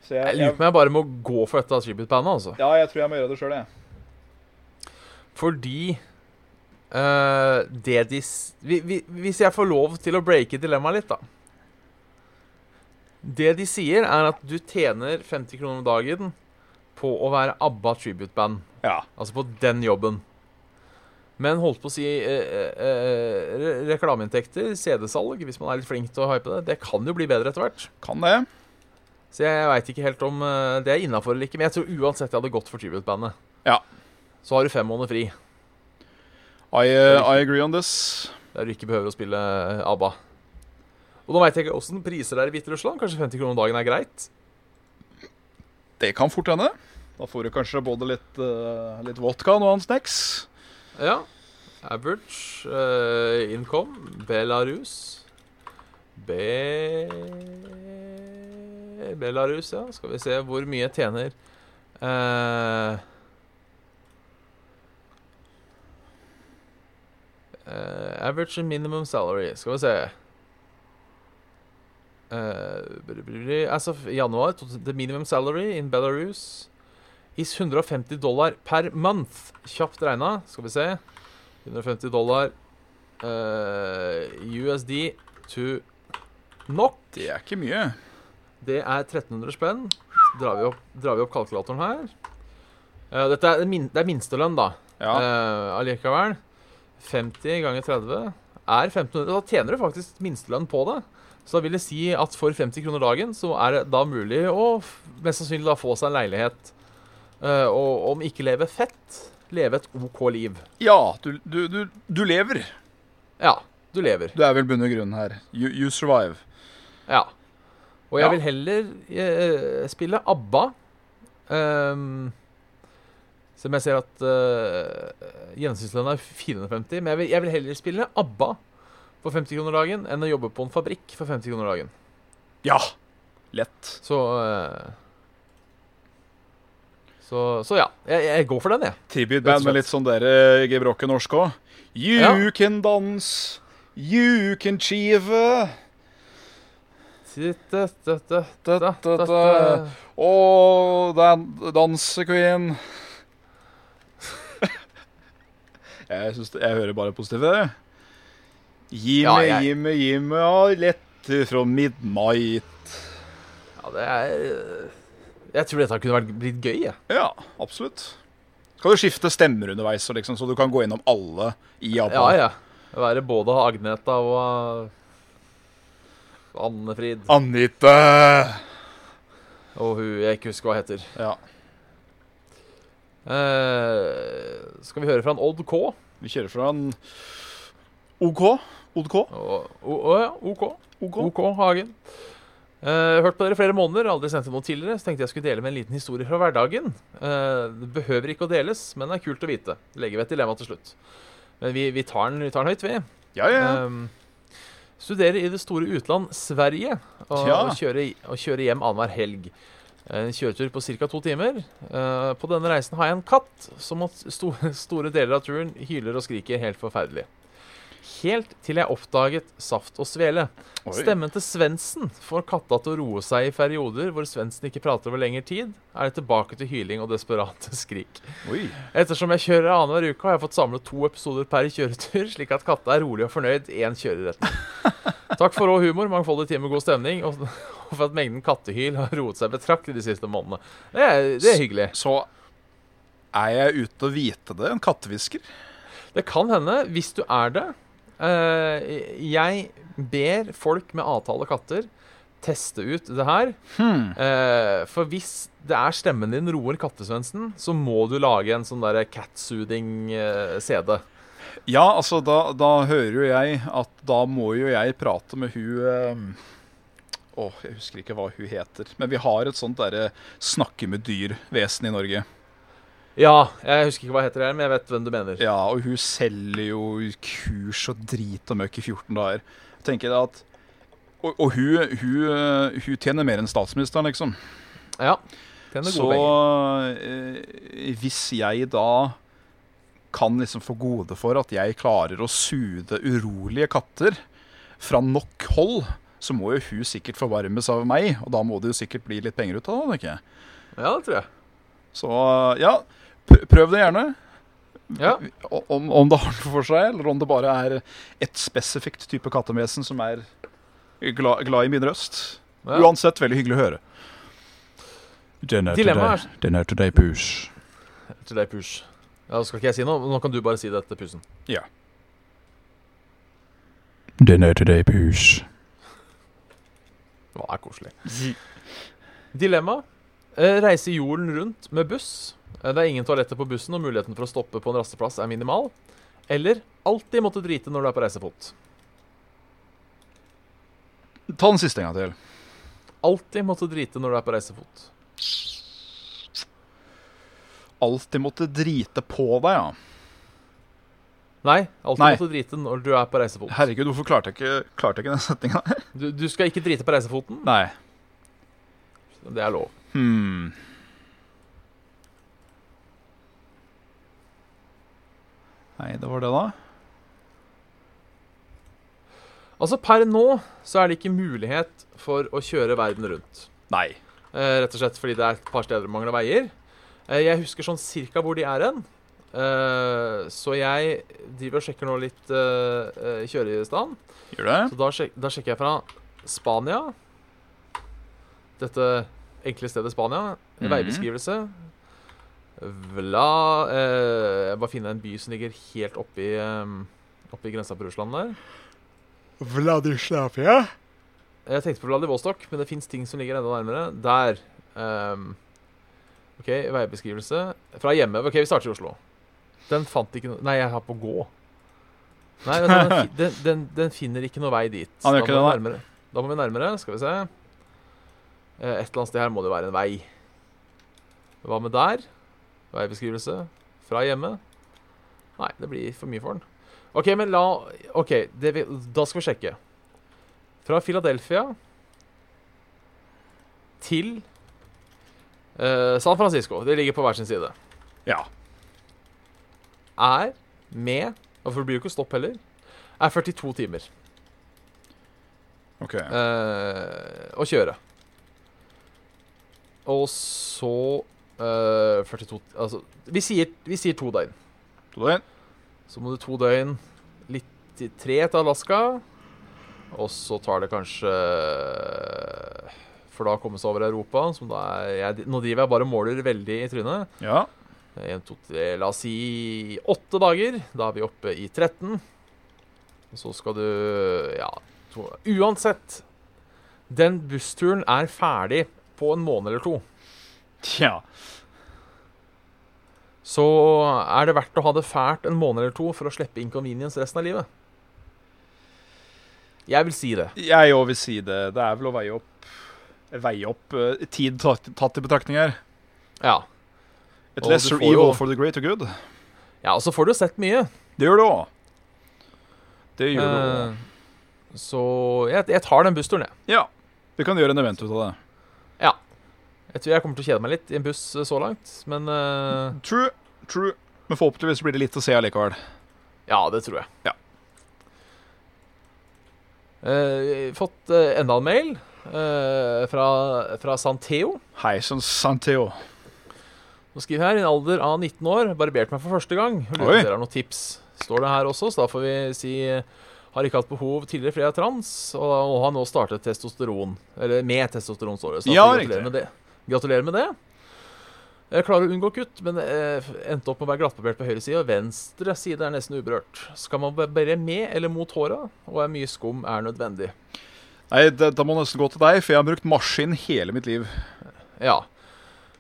[SPEAKER 3] Så
[SPEAKER 2] Jeg lurer på om jeg bare må gå for dette tribute-bandet, altså.
[SPEAKER 3] Ja, jeg tror jeg må gjøre det sjøl, jeg.
[SPEAKER 2] Fordi eh, det de s- vi, vi, Hvis jeg får lov til å breake dilemmaet litt, da. Det de sier, er at du tjener 50 kroner om dagen på å være ABBA tribute-band.
[SPEAKER 3] Ja.
[SPEAKER 2] Altså på den jobben. Men holdt på å si eh, eh, re- reklameinntekter, CD-salg, hvis man er litt flink til å hype det. Det kan jo bli bedre etter hvert.
[SPEAKER 3] Kan det.
[SPEAKER 2] Så jeg veit ikke helt om eh, det er innafor eller ikke. Men jeg tror uansett jeg hadde gått for tribute-bandet.
[SPEAKER 3] Ja.
[SPEAKER 2] Så har du fem måneder fri,
[SPEAKER 3] I, eh, I agree on this.
[SPEAKER 2] der du ikke behøver å spille eh, ABBA. Og nå veit jeg ikke åssen priser det er i Hviterussland. Kanskje 50 kroner om dagen er greit?
[SPEAKER 3] Det kan fort hende. Da får du kanskje både litt, eh, litt vodka og noe annet snacks.
[SPEAKER 2] Ja. Average eh, income Belarus Be... Belarus, ja. Skal vi se hvor mye jeg tjener Eh, eh, average and minimum salary. Skal vi se Eh, br- br- br- As of januar, to- the minimum salary in Belarus is 150 dollar per month. Kjapt regna, skal vi se. 150 dollar eh, USD to NOK.
[SPEAKER 3] Det er ikke mye.
[SPEAKER 2] Det er 1300 spenn. Så Drar vi opp, drar vi opp kalkulatoren her. Eh, dette er, min, det er minstelønn, da.
[SPEAKER 3] Ja.
[SPEAKER 2] Eh, allikevel. 50 ganger 30 er 1500. Da tjener du faktisk minstelønn på det. Så da vil det si at for 50 kroner dagen så er det da mulig å f- mest sannsynlig da få seg en leilighet. Eh, og om ikke leve fett, leve et OK liv.
[SPEAKER 3] Ja, du, du, du, du lever.
[SPEAKER 2] Ja, du lever.
[SPEAKER 3] Du er vel bundet i grunnen her. You, you survive.
[SPEAKER 2] Ja. Og jeg
[SPEAKER 3] Ja.
[SPEAKER 2] vil heller eh, spille ABBA. ehm, som jeg ser at uh, gjennomsnittslønna er 450, men jeg vil, jeg vil heller spille ABBA for 50 kroner dagen enn å jobbe på en fabrikk for 50 kroner dagen.
[SPEAKER 3] Ja! Lett.
[SPEAKER 2] Så eh, så, så ja, jeg, jeg går for den, jeg.
[SPEAKER 3] Tribute-band med litt sånn dere gebrokke norsk òg. You
[SPEAKER 2] Ja.
[SPEAKER 3] can dance, you can chieve. Da, da, da. Og dan danse queen. jeg, synes, jeg hører bare positive. Gi
[SPEAKER 2] Ja,
[SPEAKER 3] meg,
[SPEAKER 2] jeg-
[SPEAKER 3] gi meg, gi meg ja, letter fra midnight.
[SPEAKER 2] Ja, det er eh, Jeg tror dette kunne vært blitt gøy, jeg.
[SPEAKER 3] Ja, absolutt. Kan du skifte stemmer underveis, så liksom, så du kan gå gjennom alle i ABBA?
[SPEAKER 2] Ja, ja. Være både Agneta og uh, Anne-Frid.
[SPEAKER 3] Ah. Anita!
[SPEAKER 2] Og hun jeg ikke husker hva heter.
[SPEAKER 3] Ja,
[SPEAKER 2] Eh, skal vi høre fra en Odd K?
[SPEAKER 3] vi kjører fra en OK. OK.
[SPEAKER 2] Og, og, og, ja, OK.
[SPEAKER 3] OK.
[SPEAKER 2] OK Hagen. Eh, hørt på dere i flere måneder, aldri sendt inn noe tidligere. Så tenkte jeg skulle dele med en liten historie fra hverdagen. Eh, det behøver ikke å deles, men det er kult å vite. Legger ved et dilemma til slutt. Men vi, vi, tar, den, vi tar den høyt, vi.
[SPEAKER 3] Ja, ja.
[SPEAKER 2] Ehm, studerer i det store utland Sverige og,
[SPEAKER 3] Tja.
[SPEAKER 2] og, kjører, og kjører hjem annenhver helg. En kjøretur på ca. to timer. Eh, på denne reisen har jeg en katt som mot sto store deler av turen hyler og skriker helt forferdelig. Helt til jeg oppdaget Saft og Svele.
[SPEAKER 3] Oi.
[SPEAKER 2] Stemmen til Svendsen får katta til å roe seg i perioder hvor Svendsen ikke prater over lengre tid, er det tilbake til hyling og desperate skrik.
[SPEAKER 3] Oi.
[SPEAKER 2] Ettersom jeg kjører annenhver uke, har jeg fått samlet to episoder per kjøretur, slik at katta er rolig og fornøyd én kjøreretning. Takk for rå humor, mangfoldig tid med god stemning, og og for at mengden kattehyl har roet seg betraktelig de siste månedene. Det er, det er hyggelig.
[SPEAKER 3] Så er jeg ute og vite det. En kattehvisker.
[SPEAKER 2] Det kan hende, hvis du er det. Eh, jeg ber folk med avtale katter teste ut det her. Eh, for hvis det er stemmen din roer kattesvensen, så må du lage en sånn derre cat-soothing-CD.
[SPEAKER 3] Ja, altså, da, da hører jo jeg at da må jo jeg prate med hun eh, Åh, jeg husker ikke hva hun heter. Men vi har et sånt derre snakke med dyr-vesen i Norge.
[SPEAKER 2] Ja, jeg husker ikke hva heter det her, men jeg vet hvem du mener.
[SPEAKER 3] Ja, og hun selger jo kurs og drit og møkk i 14 dager. Jeg tenker da at Og, og hun, hun, eh, hun tjener mer enn statsministeren, liksom.
[SPEAKER 2] Ja. Tjener
[SPEAKER 3] Så
[SPEAKER 2] gode penger.
[SPEAKER 3] eh, hvis jeg da kan liksom få gode for at jeg klarer å sude urolige katter fra nok hold, så må jo hun sikkert forvarmes av meg, og da må det jo sikkert bli litt penger ut av det. tenker jeg.
[SPEAKER 2] Ja, det tror jeg.
[SPEAKER 3] Så ja, pr- prøv det gjerne.
[SPEAKER 2] Ja.
[SPEAKER 3] O- Om, om det har noe for seg, eller om det bare er et spesifikt type kattemesen som er glad, glad i min røst.
[SPEAKER 2] Ja.
[SPEAKER 3] Uansett, veldig hyggelig å høre. Dinner
[SPEAKER 2] Dilemmaet
[SPEAKER 3] today, dinner today, push.
[SPEAKER 2] Til deg, Push. Ja, skal ikke jeg si noe? Nå kan du bare si det etter pusen.
[SPEAKER 3] Dinner today, push.
[SPEAKER 2] Det er koselig. Dilemma. Eh, Reise jorden rundt med buss. Eh, Det er ingen toaletter på bussen, og muligheten for å stoppe på en rasteplass er minimal. Eller alltid måtte drite når du er på reisefot.
[SPEAKER 3] Ta den siste en gang til.
[SPEAKER 2] Alltid måtte drite når du er på reisefot.
[SPEAKER 3] Alltid måtte drite på deg, ja.
[SPEAKER 2] Nei, alltid
[SPEAKER 3] Nei.
[SPEAKER 2] måtte drite når du er på reisefot.
[SPEAKER 3] Herregud, hvorfor klarte jeg ikke, klarte jeg ikke den setninga der?
[SPEAKER 2] Du, du skal ikke drite på reisefoten.
[SPEAKER 3] Nei.
[SPEAKER 2] Det er lov.
[SPEAKER 3] Hmm. Nei, det var det, da.
[SPEAKER 2] Altså Per nå så er det ikke mulighet for å kjøre verden rundt.
[SPEAKER 3] Nei.
[SPEAKER 2] Eh, rett og slett fordi det er et par steder det mangler veier. Eh, jeg husker sånn cirka hvor de er hen. Eh, så jeg driver og sjekker nå litt eh, eh, kjørestand.
[SPEAKER 3] Gjør det?
[SPEAKER 2] Så da, sjek da sjekker jeg fra Spania. Dette enkle stedet Spania.
[SPEAKER 3] Mhm.
[SPEAKER 2] Veibeskrivelse. Vla eh, Jeg bare finner en by som ligger helt oppi, eh, oppi grensa på Russland der.
[SPEAKER 3] Vladislavia?
[SPEAKER 2] Jeg tenkte på Vladivostok, men det fins ting som ligger enda nærmere. Der. ehm, OK, veibeskrivelse. Fra hjemme. OK, vi starter i Oslo. Den fant ikke noe Nei, jeg har på gå. Nei, vent, da, den, fi- den, den, den finner ikke noe vei dit.
[SPEAKER 3] Han gjør
[SPEAKER 2] Da
[SPEAKER 3] ikke det,
[SPEAKER 2] må vi nærmere. Da må vi nærmere. Skal vi se. Eh, Et eller annet sted her må det jo være en vei. Hva med der? Veibeskrivelse. Fra hjemme. Nei, det blir for mye for den. OK, men la OK, det vi, da skal vi sjekke. Fra Philadelphia til eh, San Francisco. Det ligger på hver sin side.
[SPEAKER 3] Ja.
[SPEAKER 2] Er med og For det blir jo ikke stopp heller. Er 42 timer
[SPEAKER 3] Ok.
[SPEAKER 2] eh, å kjøre. Og så eh, 42 Altså, vi sier, vi sier to døgn.
[SPEAKER 3] To døgn.
[SPEAKER 2] Så må du to døgn litt til tre til Alaska. Og så tar det kanskje For da å komme seg over Europa, som da er jeg, Nå driver jeg bare og måler veldig i trynet.
[SPEAKER 3] Ja.
[SPEAKER 2] En, to, tre, la oss si åtte dager. Da er vi oppe i 13. Og så skal du Ja, to, uansett. Den bussturen er ferdig på en måned eller to.
[SPEAKER 3] Tja.
[SPEAKER 2] Så er det verdt å ha det fælt en måned eller to for å slippe inconvenience resten av livet. Jeg vil si det.
[SPEAKER 3] Jeg òg vil si det. Det er vel å veie opp Veie opp eh, tid tatt, tatt i betraktning her.
[SPEAKER 2] Ja.
[SPEAKER 3] Et
[SPEAKER 2] Og du
[SPEAKER 3] lesser
[SPEAKER 2] får jo-
[SPEAKER 3] evil for the greater good.
[SPEAKER 2] ja og så får du sett mye.
[SPEAKER 3] Det gjør det òg. Det gjør det òg.
[SPEAKER 2] Eh, så jeg, jeg tar den bussturen, jeg.
[SPEAKER 3] Ja. Vi kan gjøre en event ut av det.
[SPEAKER 2] Jeg tror jeg kommer til å kjede meg litt i en buss eh, så langt, men eh,
[SPEAKER 3] True. True. Men forhåpentligvis blir det litt å se allikevel.
[SPEAKER 2] ja, det tror jeg.
[SPEAKER 3] Ja.
[SPEAKER 2] Eh, fått eh, enda en mail eh, fra, fra Santeo.
[SPEAKER 3] Hei sann, Santeo.
[SPEAKER 2] Nå skriver jeg her, i en alder av 19 år, barbert meg for første gang. Lurer på
[SPEAKER 3] Oi.
[SPEAKER 2] om dere har noen tips. Står det her også, så da får vi si eh, har ikke hatt behov tidligere fordi jeg er trans, og da- og har nå startet testosteron. Eller med testosteron, står det. Så da
[SPEAKER 3] Ja,
[SPEAKER 2] får vi
[SPEAKER 3] riktig.
[SPEAKER 2] gratulerer med det. Gratulerer med det. Jeg klarer å unngå kutt, men eh, endte opp med å være glattbarbert på høyre side, og venstre side er nesten uberørt. Skal man barbere med eller mot håra, og er mye skum er nødvendig.
[SPEAKER 3] Nei, det, da må jeg nesten gå til deg, for jeg har brukt maskin hele mitt liv.
[SPEAKER 2] Ja.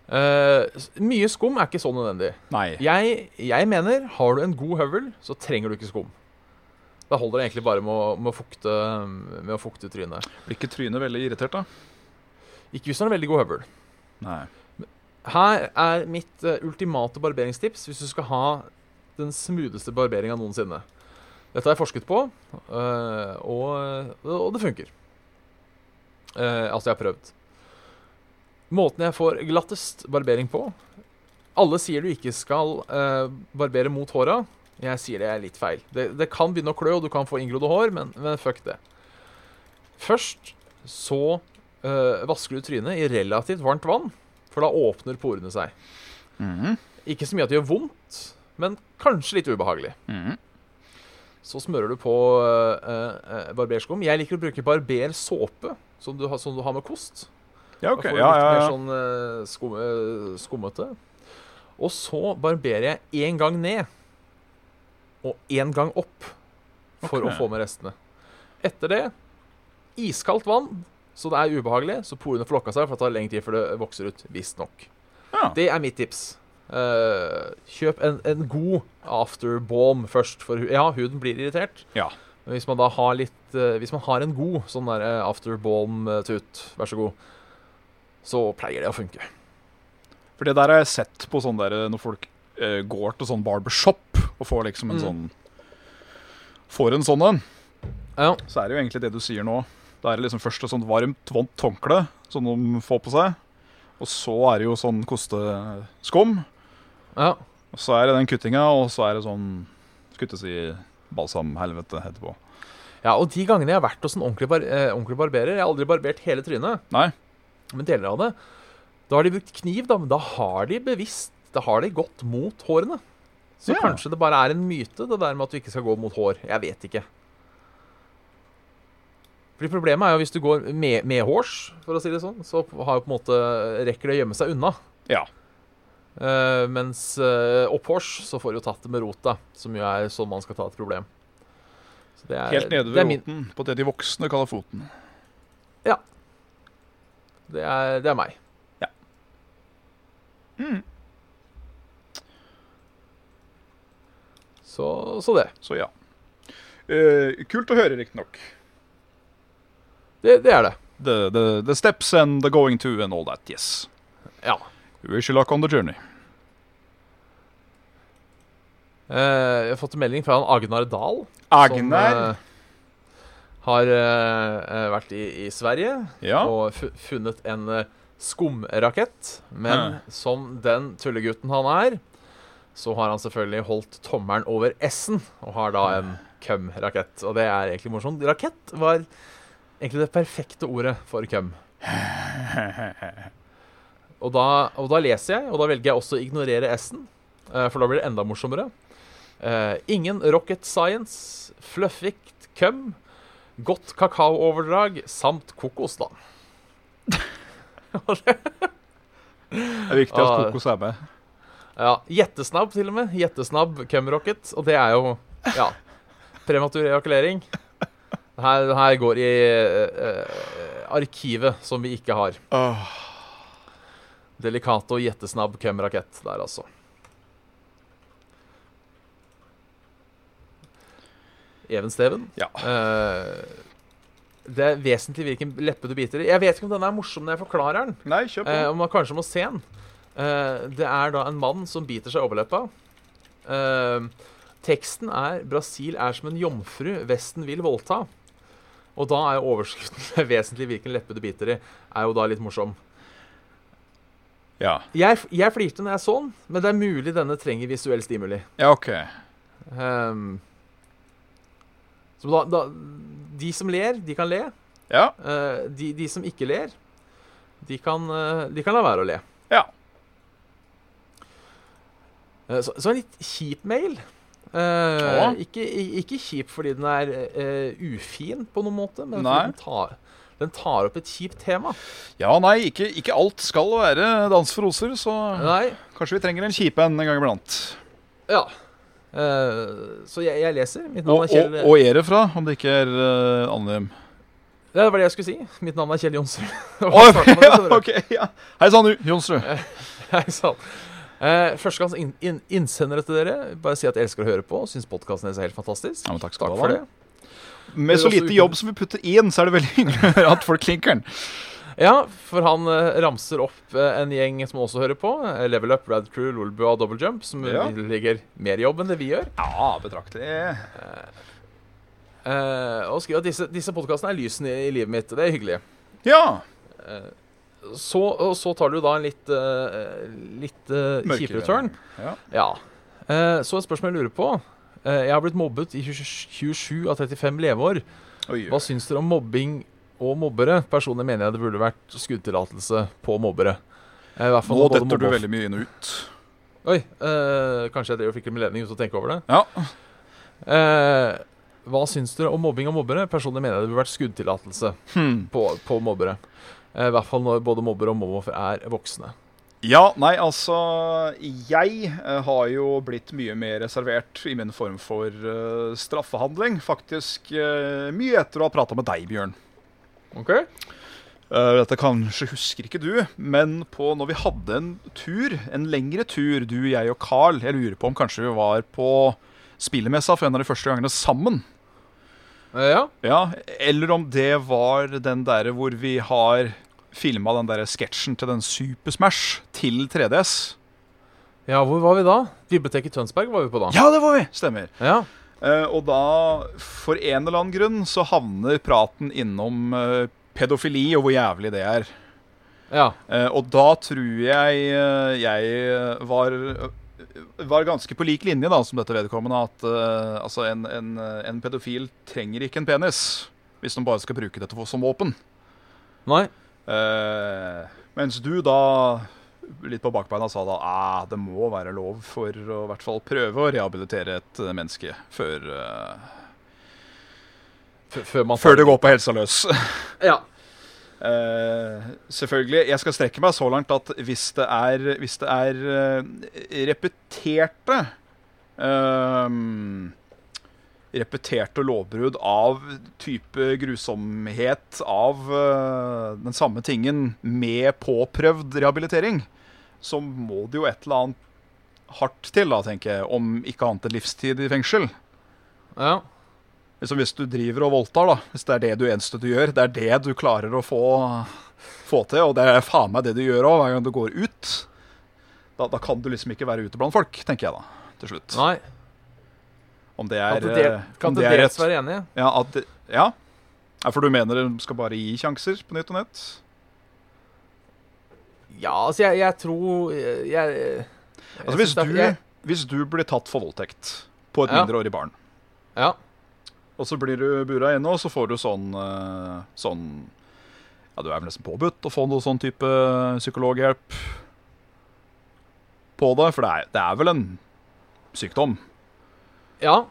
[SPEAKER 2] Eh, s- mye skum er ikke så nødvendig.
[SPEAKER 3] Nei.
[SPEAKER 2] Jeg, jeg mener, har du en god høvel, så trenger du ikke skum. Da holder det egentlig bare med å, med å, fukte, med å fukte trynet.
[SPEAKER 3] Blir ikke trynet veldig irritert, da?
[SPEAKER 2] Ikke hvis du har en veldig god høvel.
[SPEAKER 3] Nei.
[SPEAKER 2] Her er mitt eh, ultimate barberingstips hvis du skal ha den smootheste barberinga noensinne. Dette har jeg forsket på, eh, og, og det funker. Eh, altså, jeg har prøvd. Måten jeg får glattest barbering på Alle sier du ikke skal eh, barbere mot håra. Jeg sier det er litt feil. Det, det kan begynne å klø, og du kan få inngrodde hår, men, men fuck det. Først så eh, vasker du trynet i relativt varmt vann. For da åpner porene seg.
[SPEAKER 3] Mhm.
[SPEAKER 2] Ikke så mye at det gjør vondt, men kanskje litt ubehagelig.
[SPEAKER 3] Mhm.
[SPEAKER 2] Så smører du på eh, eh, barberskum. Jeg liker å bruke barbersåpe, som du, har- som du har med kost.
[SPEAKER 3] Ja, OK.
[SPEAKER 2] Da får du
[SPEAKER 3] Ja,
[SPEAKER 2] litt
[SPEAKER 3] ja,
[SPEAKER 2] mer
[SPEAKER 3] ja.
[SPEAKER 2] sånn eh, skum, eh, skummete. Og så barberer jeg én gang ned og én gang opp for
[SPEAKER 3] Ok.
[SPEAKER 2] å få med restene. Etter det iskaldt vann, så det er ubehagelig. Så porene får lokka seg, for det tar lengre tid før det vokser ut, visstnok.
[SPEAKER 3] Ja.
[SPEAKER 2] Det er mitt tips. Eh, kjøp en, en god afterbalm først, for hu- ja, huden blir irritert.
[SPEAKER 3] Ja.
[SPEAKER 2] Men Hvis man da har litt eh, Hvis man har en god sånn der eh, afterbalm-tut, vær så god, så pleier det å funke.
[SPEAKER 3] For det der har jeg sett på sånn der når folk eh, går til sånn barbershop og får liksom en
[SPEAKER 2] Mm.
[SPEAKER 3] sånn Får en sånn en,
[SPEAKER 2] Ja.
[SPEAKER 3] så er det jo egentlig det du sier nå. Da er det liksom først et sånt varmt, vondt håndkle som de får på seg. Og så er det jo sånn kosteskum.
[SPEAKER 2] ja.
[SPEAKER 3] Og så er det den kuttinga, og så er det sånn Skuttes i balsamhelvete etterpå.
[SPEAKER 2] Ja, og de gangene jeg har vært hos en ordentlig, bar eh, ordentlig barberer Jeg har aldri barbert hele trynet,
[SPEAKER 3] Nei?
[SPEAKER 2] men deler av det. Da har de brukt kniv, da, men da har de bevisst Da har de gått mot hårene. Så
[SPEAKER 3] Ja.
[SPEAKER 2] kanskje det bare er en myte, det der med at du ikke skal gå mot hår. Jeg vet ikke. Fordi Problemet er jo hvis du går med, med hårs, for å si det sånn, så har jo på en måte rekker det å gjemme seg unna.
[SPEAKER 3] Ja.
[SPEAKER 2] Eh, mens uh, opphårs så får du jo tatt det med rota, som jo er sånn man skal ta et problem. Så det er-
[SPEAKER 3] Helt nede
[SPEAKER 2] Eh, det er
[SPEAKER 3] ved
[SPEAKER 2] min-
[SPEAKER 3] roten, på det de voksne kaller foten.
[SPEAKER 2] Det er, det er meg. Så, så det.
[SPEAKER 3] Så ja. Eh, kult å høre, riktignok.
[SPEAKER 2] det. Det er det.
[SPEAKER 3] the, the, the steps and the going to and all that. Yes.
[SPEAKER 2] Ja.
[SPEAKER 3] Wish you luck on the journey.
[SPEAKER 2] Eh, jeg har fått en melding fra han Agnar Dahl. Som,
[SPEAKER 3] Agnar.
[SPEAKER 2] eh, har eh, eh, vært i, i Sverige
[SPEAKER 3] Ja.
[SPEAKER 2] og fu- funnet en eh, skumrakett. Men
[SPEAKER 3] Ja.
[SPEAKER 2] som den tullegutten han er, så har han selvfølgelig holdt tommelen over S-en og har da en cum-rakett. Og det er egentlig morsomt. Rakett var egentlig det perfekte ordet for cum. Og da, og da leser jeg, og da velger jeg også å ignorere S-en, eh, for da blir det enda morsommere. Eh, ingen rocket science, fluffig cum, godt kakaooverdrag samt kokos, da.
[SPEAKER 3] Det er viktig at
[SPEAKER 2] ah.
[SPEAKER 3] kokos er med.
[SPEAKER 2] Ja, Jettesnabb, til og med. Jettesnabb cumrocket. Og det er jo ja, prematur ejakulering. Det her, det her går i eh, eh, arkivet som vi ikke har.
[SPEAKER 3] Åh.
[SPEAKER 2] Delicato jettesnabb cumrakett der, altså. Even Steven.
[SPEAKER 3] Ja.
[SPEAKER 2] Eh, det er vesentlig hvilken leppe du biter i. Jeg vet ikke om denne er morsom når jeg forklarer den.
[SPEAKER 3] Nei, kjøp
[SPEAKER 2] Eh,
[SPEAKER 3] den.
[SPEAKER 2] og man kanskje må se den. Eh, det er da en mann som biter seg i overleppa. Eh, teksten er 'Brasil er som en jomfru Vesten vil voldta'. Og da er jo overskriften vesentlig hvilken leppe du biter i, er jo da litt morsom.
[SPEAKER 3] Ja.
[SPEAKER 2] Jeg, jeg flirte når jeg så den, men det er mulig denne trenger visuell stimuli.
[SPEAKER 3] ja, OK.
[SPEAKER 2] Ehm, så da, da, de som ler, de kan le.
[SPEAKER 3] Ja.
[SPEAKER 2] Eh, de, de som ikke ler, de kan, eh, de kan la være å le.
[SPEAKER 3] Ja.
[SPEAKER 2] Eh, Så, så en litt kjip mail. Eh,
[SPEAKER 3] Ja.
[SPEAKER 2] ikke, i- ikke kjip fordi den er eh, ufin på noen måte, men
[SPEAKER 3] Nei.
[SPEAKER 2] fordi den tar, den tar opp et kjipt tema.
[SPEAKER 3] Ja, nei, ikke, ikke alt skal være dans for roser, så
[SPEAKER 2] Nei,
[SPEAKER 3] kanskje vi trenger en kjipe en en gang iblant.
[SPEAKER 2] ja. Eh, så jeg, jeg leser. Mitt navn
[SPEAKER 3] Og,
[SPEAKER 2] er Kjell
[SPEAKER 3] og, og er det fra, om det ikke er eh, anonym.
[SPEAKER 2] Ja, Det var det jeg skulle si. Mitt navn er Kjell Jonsrud. Det var
[SPEAKER 3] Å,
[SPEAKER 2] starten av det,
[SPEAKER 3] ja,
[SPEAKER 2] skjønner du.
[SPEAKER 3] ok, ja. Hei sann, du, Jonsrud.
[SPEAKER 2] Nei, sant. Eh, Førstegangs inn- inn- innsendere til dere. Bare si at jeg elsker å høre på. Syns podkasten deres er helt fantastisk.
[SPEAKER 3] Ja, men takk skal
[SPEAKER 2] Takk
[SPEAKER 3] du
[SPEAKER 2] for
[SPEAKER 3] ha.
[SPEAKER 2] det.
[SPEAKER 3] Med så lite jobb som vi putter inn, så er det veldig hyggelig å høre at folk klinker den.
[SPEAKER 2] Ja, for han eh, ramser opp eh, en gjeng som også hører på. eh, Level Up, Rad Crew, Lolbua og Double Jump, som
[SPEAKER 3] Ja.
[SPEAKER 2] ligger mer i jobb enn det vi gjør.
[SPEAKER 3] Ja, betraktelig.
[SPEAKER 2] Eh, og skriver at disse, disse podkastene er lysene i, i livet mitt. Det er hyggelig. Eh,
[SPEAKER 3] Ja.
[SPEAKER 2] Så, og så tar du da en litt, eh, litt eh, kjipere turn.
[SPEAKER 3] Ja.
[SPEAKER 2] Ja. Eh, så et spørsmål jeg lurer på. Eh, jeg har blitt mobbet i 27 av 35 leveår.
[SPEAKER 3] Oi,
[SPEAKER 2] Hva syns dere om mobbing og mobbere? Personlig mener jeg det burde vært skuddtillatelse på mobbere. Eh, i hvert fall
[SPEAKER 3] Nå
[SPEAKER 2] både
[SPEAKER 3] detter du
[SPEAKER 2] mobbeoff-
[SPEAKER 3] veldig mye inn og ut.
[SPEAKER 2] Oi, eh, kanskje jeg driver og fikk en anledning til å tenke over det.
[SPEAKER 3] Ja.
[SPEAKER 2] Eh, hva syns dere om mobbing og mobbere? Personlig mener jeg det burde vært skuddtillatelse
[SPEAKER 3] Hmm.
[SPEAKER 2] på, på mobbere. Eh, I hvert fall når både mobbere og mobbeoffer er voksne.
[SPEAKER 3] Ja, nei, altså Jeg eh, har jo blitt mye mer reservert i min form for eh, straffehandling. Faktisk eh, mye etter å ha prata med deg, Bjørn.
[SPEAKER 2] Ok?
[SPEAKER 3] Eh, dette kanskje husker ikke du, men på når vi hadde en tur, en lengre tur, du, jeg og Carl Jeg lurer på om kanskje vi var på spillemessa for en av de første gangene sammen.
[SPEAKER 2] Eh, ja.
[SPEAKER 3] Ja, Eller om det var den derre hvor vi har filma den derre sketsjen til den Super Smash til 3DS.
[SPEAKER 2] ja, hvor var vi da? Biblioteket i Tønsberg var vi på da.
[SPEAKER 3] Ja, det var vi! Stemmer.
[SPEAKER 2] Ja.
[SPEAKER 3] Eh, og da, for en eller annen grunn, så havner praten innom eh, pedofili og hvor jævlig det er.
[SPEAKER 2] ja.
[SPEAKER 3] Eh, og da tror jeg eh, jeg eh, var eh, var ganske på lik linje da, som dette vedkommende. At eh, altså en, en, eh, en pedofil trenger ikke en penis hvis de bare skal bruke dette for- som våpen.
[SPEAKER 2] Nei.
[SPEAKER 3] Eh, mens du da litt på bakbeina sa da ah, det må være lov for å i hvert fall prøve å rehabilitere et eh, menneske før, eh,
[SPEAKER 2] F før man
[SPEAKER 3] før det går på helsa løs.
[SPEAKER 2] Ja.
[SPEAKER 3] Eh, selvfølgelig. Jeg skal strekke meg så langt at hvis det er, hvis det er eh, repeterte ehm, Repeterte lovbrudd av type grusomhet av eh, den samme tingen med påprøvd rehabilitering, så må det jo et eller annet hardt til, da, tenker jeg. Om ikke annet enn livstid i fengsel.
[SPEAKER 2] ja.
[SPEAKER 3] liksom Hvis du driver og voldtar, da, hvis det er det du eneste du gjør, det er det du klarer å få, få til, og det er faen meg det du gjør òg hver gang du går ut, da, da kan du liksom ikke være ute blant folk, tenker jeg da, til slutt.
[SPEAKER 2] Nei.
[SPEAKER 3] Om det
[SPEAKER 2] Kan
[SPEAKER 3] er,
[SPEAKER 2] til del-
[SPEAKER 3] eh,
[SPEAKER 2] kan
[SPEAKER 3] om
[SPEAKER 2] til
[SPEAKER 3] det er
[SPEAKER 2] dels
[SPEAKER 3] et
[SPEAKER 2] være enig.
[SPEAKER 3] ja, at, det- ja. ja, for du mener de skal bare gi sjanser på nytt og nytt?
[SPEAKER 2] Ja, altså, jeg, jeg tror eh, Jeg, jeg
[SPEAKER 3] Altså,
[SPEAKER 2] jeg
[SPEAKER 3] hvis
[SPEAKER 2] synes det er-
[SPEAKER 3] du,
[SPEAKER 2] jeg,
[SPEAKER 3] hvis du blir tatt for voldtekt på et
[SPEAKER 2] Ja.
[SPEAKER 3] mindreårig barn,
[SPEAKER 2] Ja.
[SPEAKER 3] og så blir du bura inne, og så får du sånn, eh, sånn Ja, du er vel nesten påbudt å få noe sånn type psykologhjelp på deg, for det er, det er vel en sykdom.
[SPEAKER 2] ja.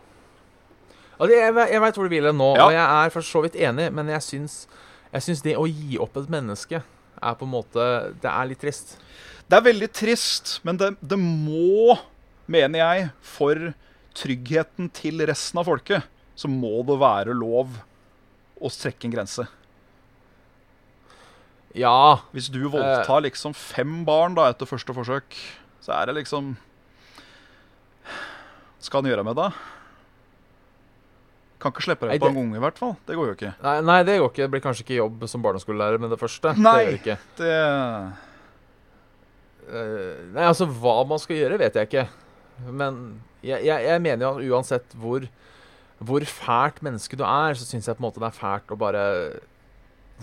[SPEAKER 2] Altså, jeg, ve- jeg veit hvor du vil hen nå,
[SPEAKER 3] Ja.
[SPEAKER 2] og jeg er for så vidt enig, men jeg syns, jeg syns det å gi opp et menneske er på en måte Det er litt trist.
[SPEAKER 3] Det er veldig trist, men det, det må, mener jeg, for tryggheten til resten av folket, så må det være lov å strekke en grense.
[SPEAKER 2] Ja.
[SPEAKER 3] Hvis du
[SPEAKER 2] Eh.
[SPEAKER 3] voldtar liksom fem barn da etter første forsøk, så er det liksom Hva skal han gjøre med det? Kan ikke slippe
[SPEAKER 2] Nei,
[SPEAKER 3] deg på
[SPEAKER 2] det-
[SPEAKER 3] en unge, i hvert fall. Det går jo ikke.
[SPEAKER 2] Nei, nei, det går ikke. Det blir kanskje ikke jobb som barneskolelærer med det første.
[SPEAKER 3] Nei.
[SPEAKER 2] Det gjør det ikke.
[SPEAKER 3] Det...
[SPEAKER 2] Eh, nei, altså hva man skal gjøre, vet jeg ikke. Men jeg, jeg, jeg mener jo at uansett hvor, hvor fælt menneske du er, så syns jeg på en måte det er fælt å bare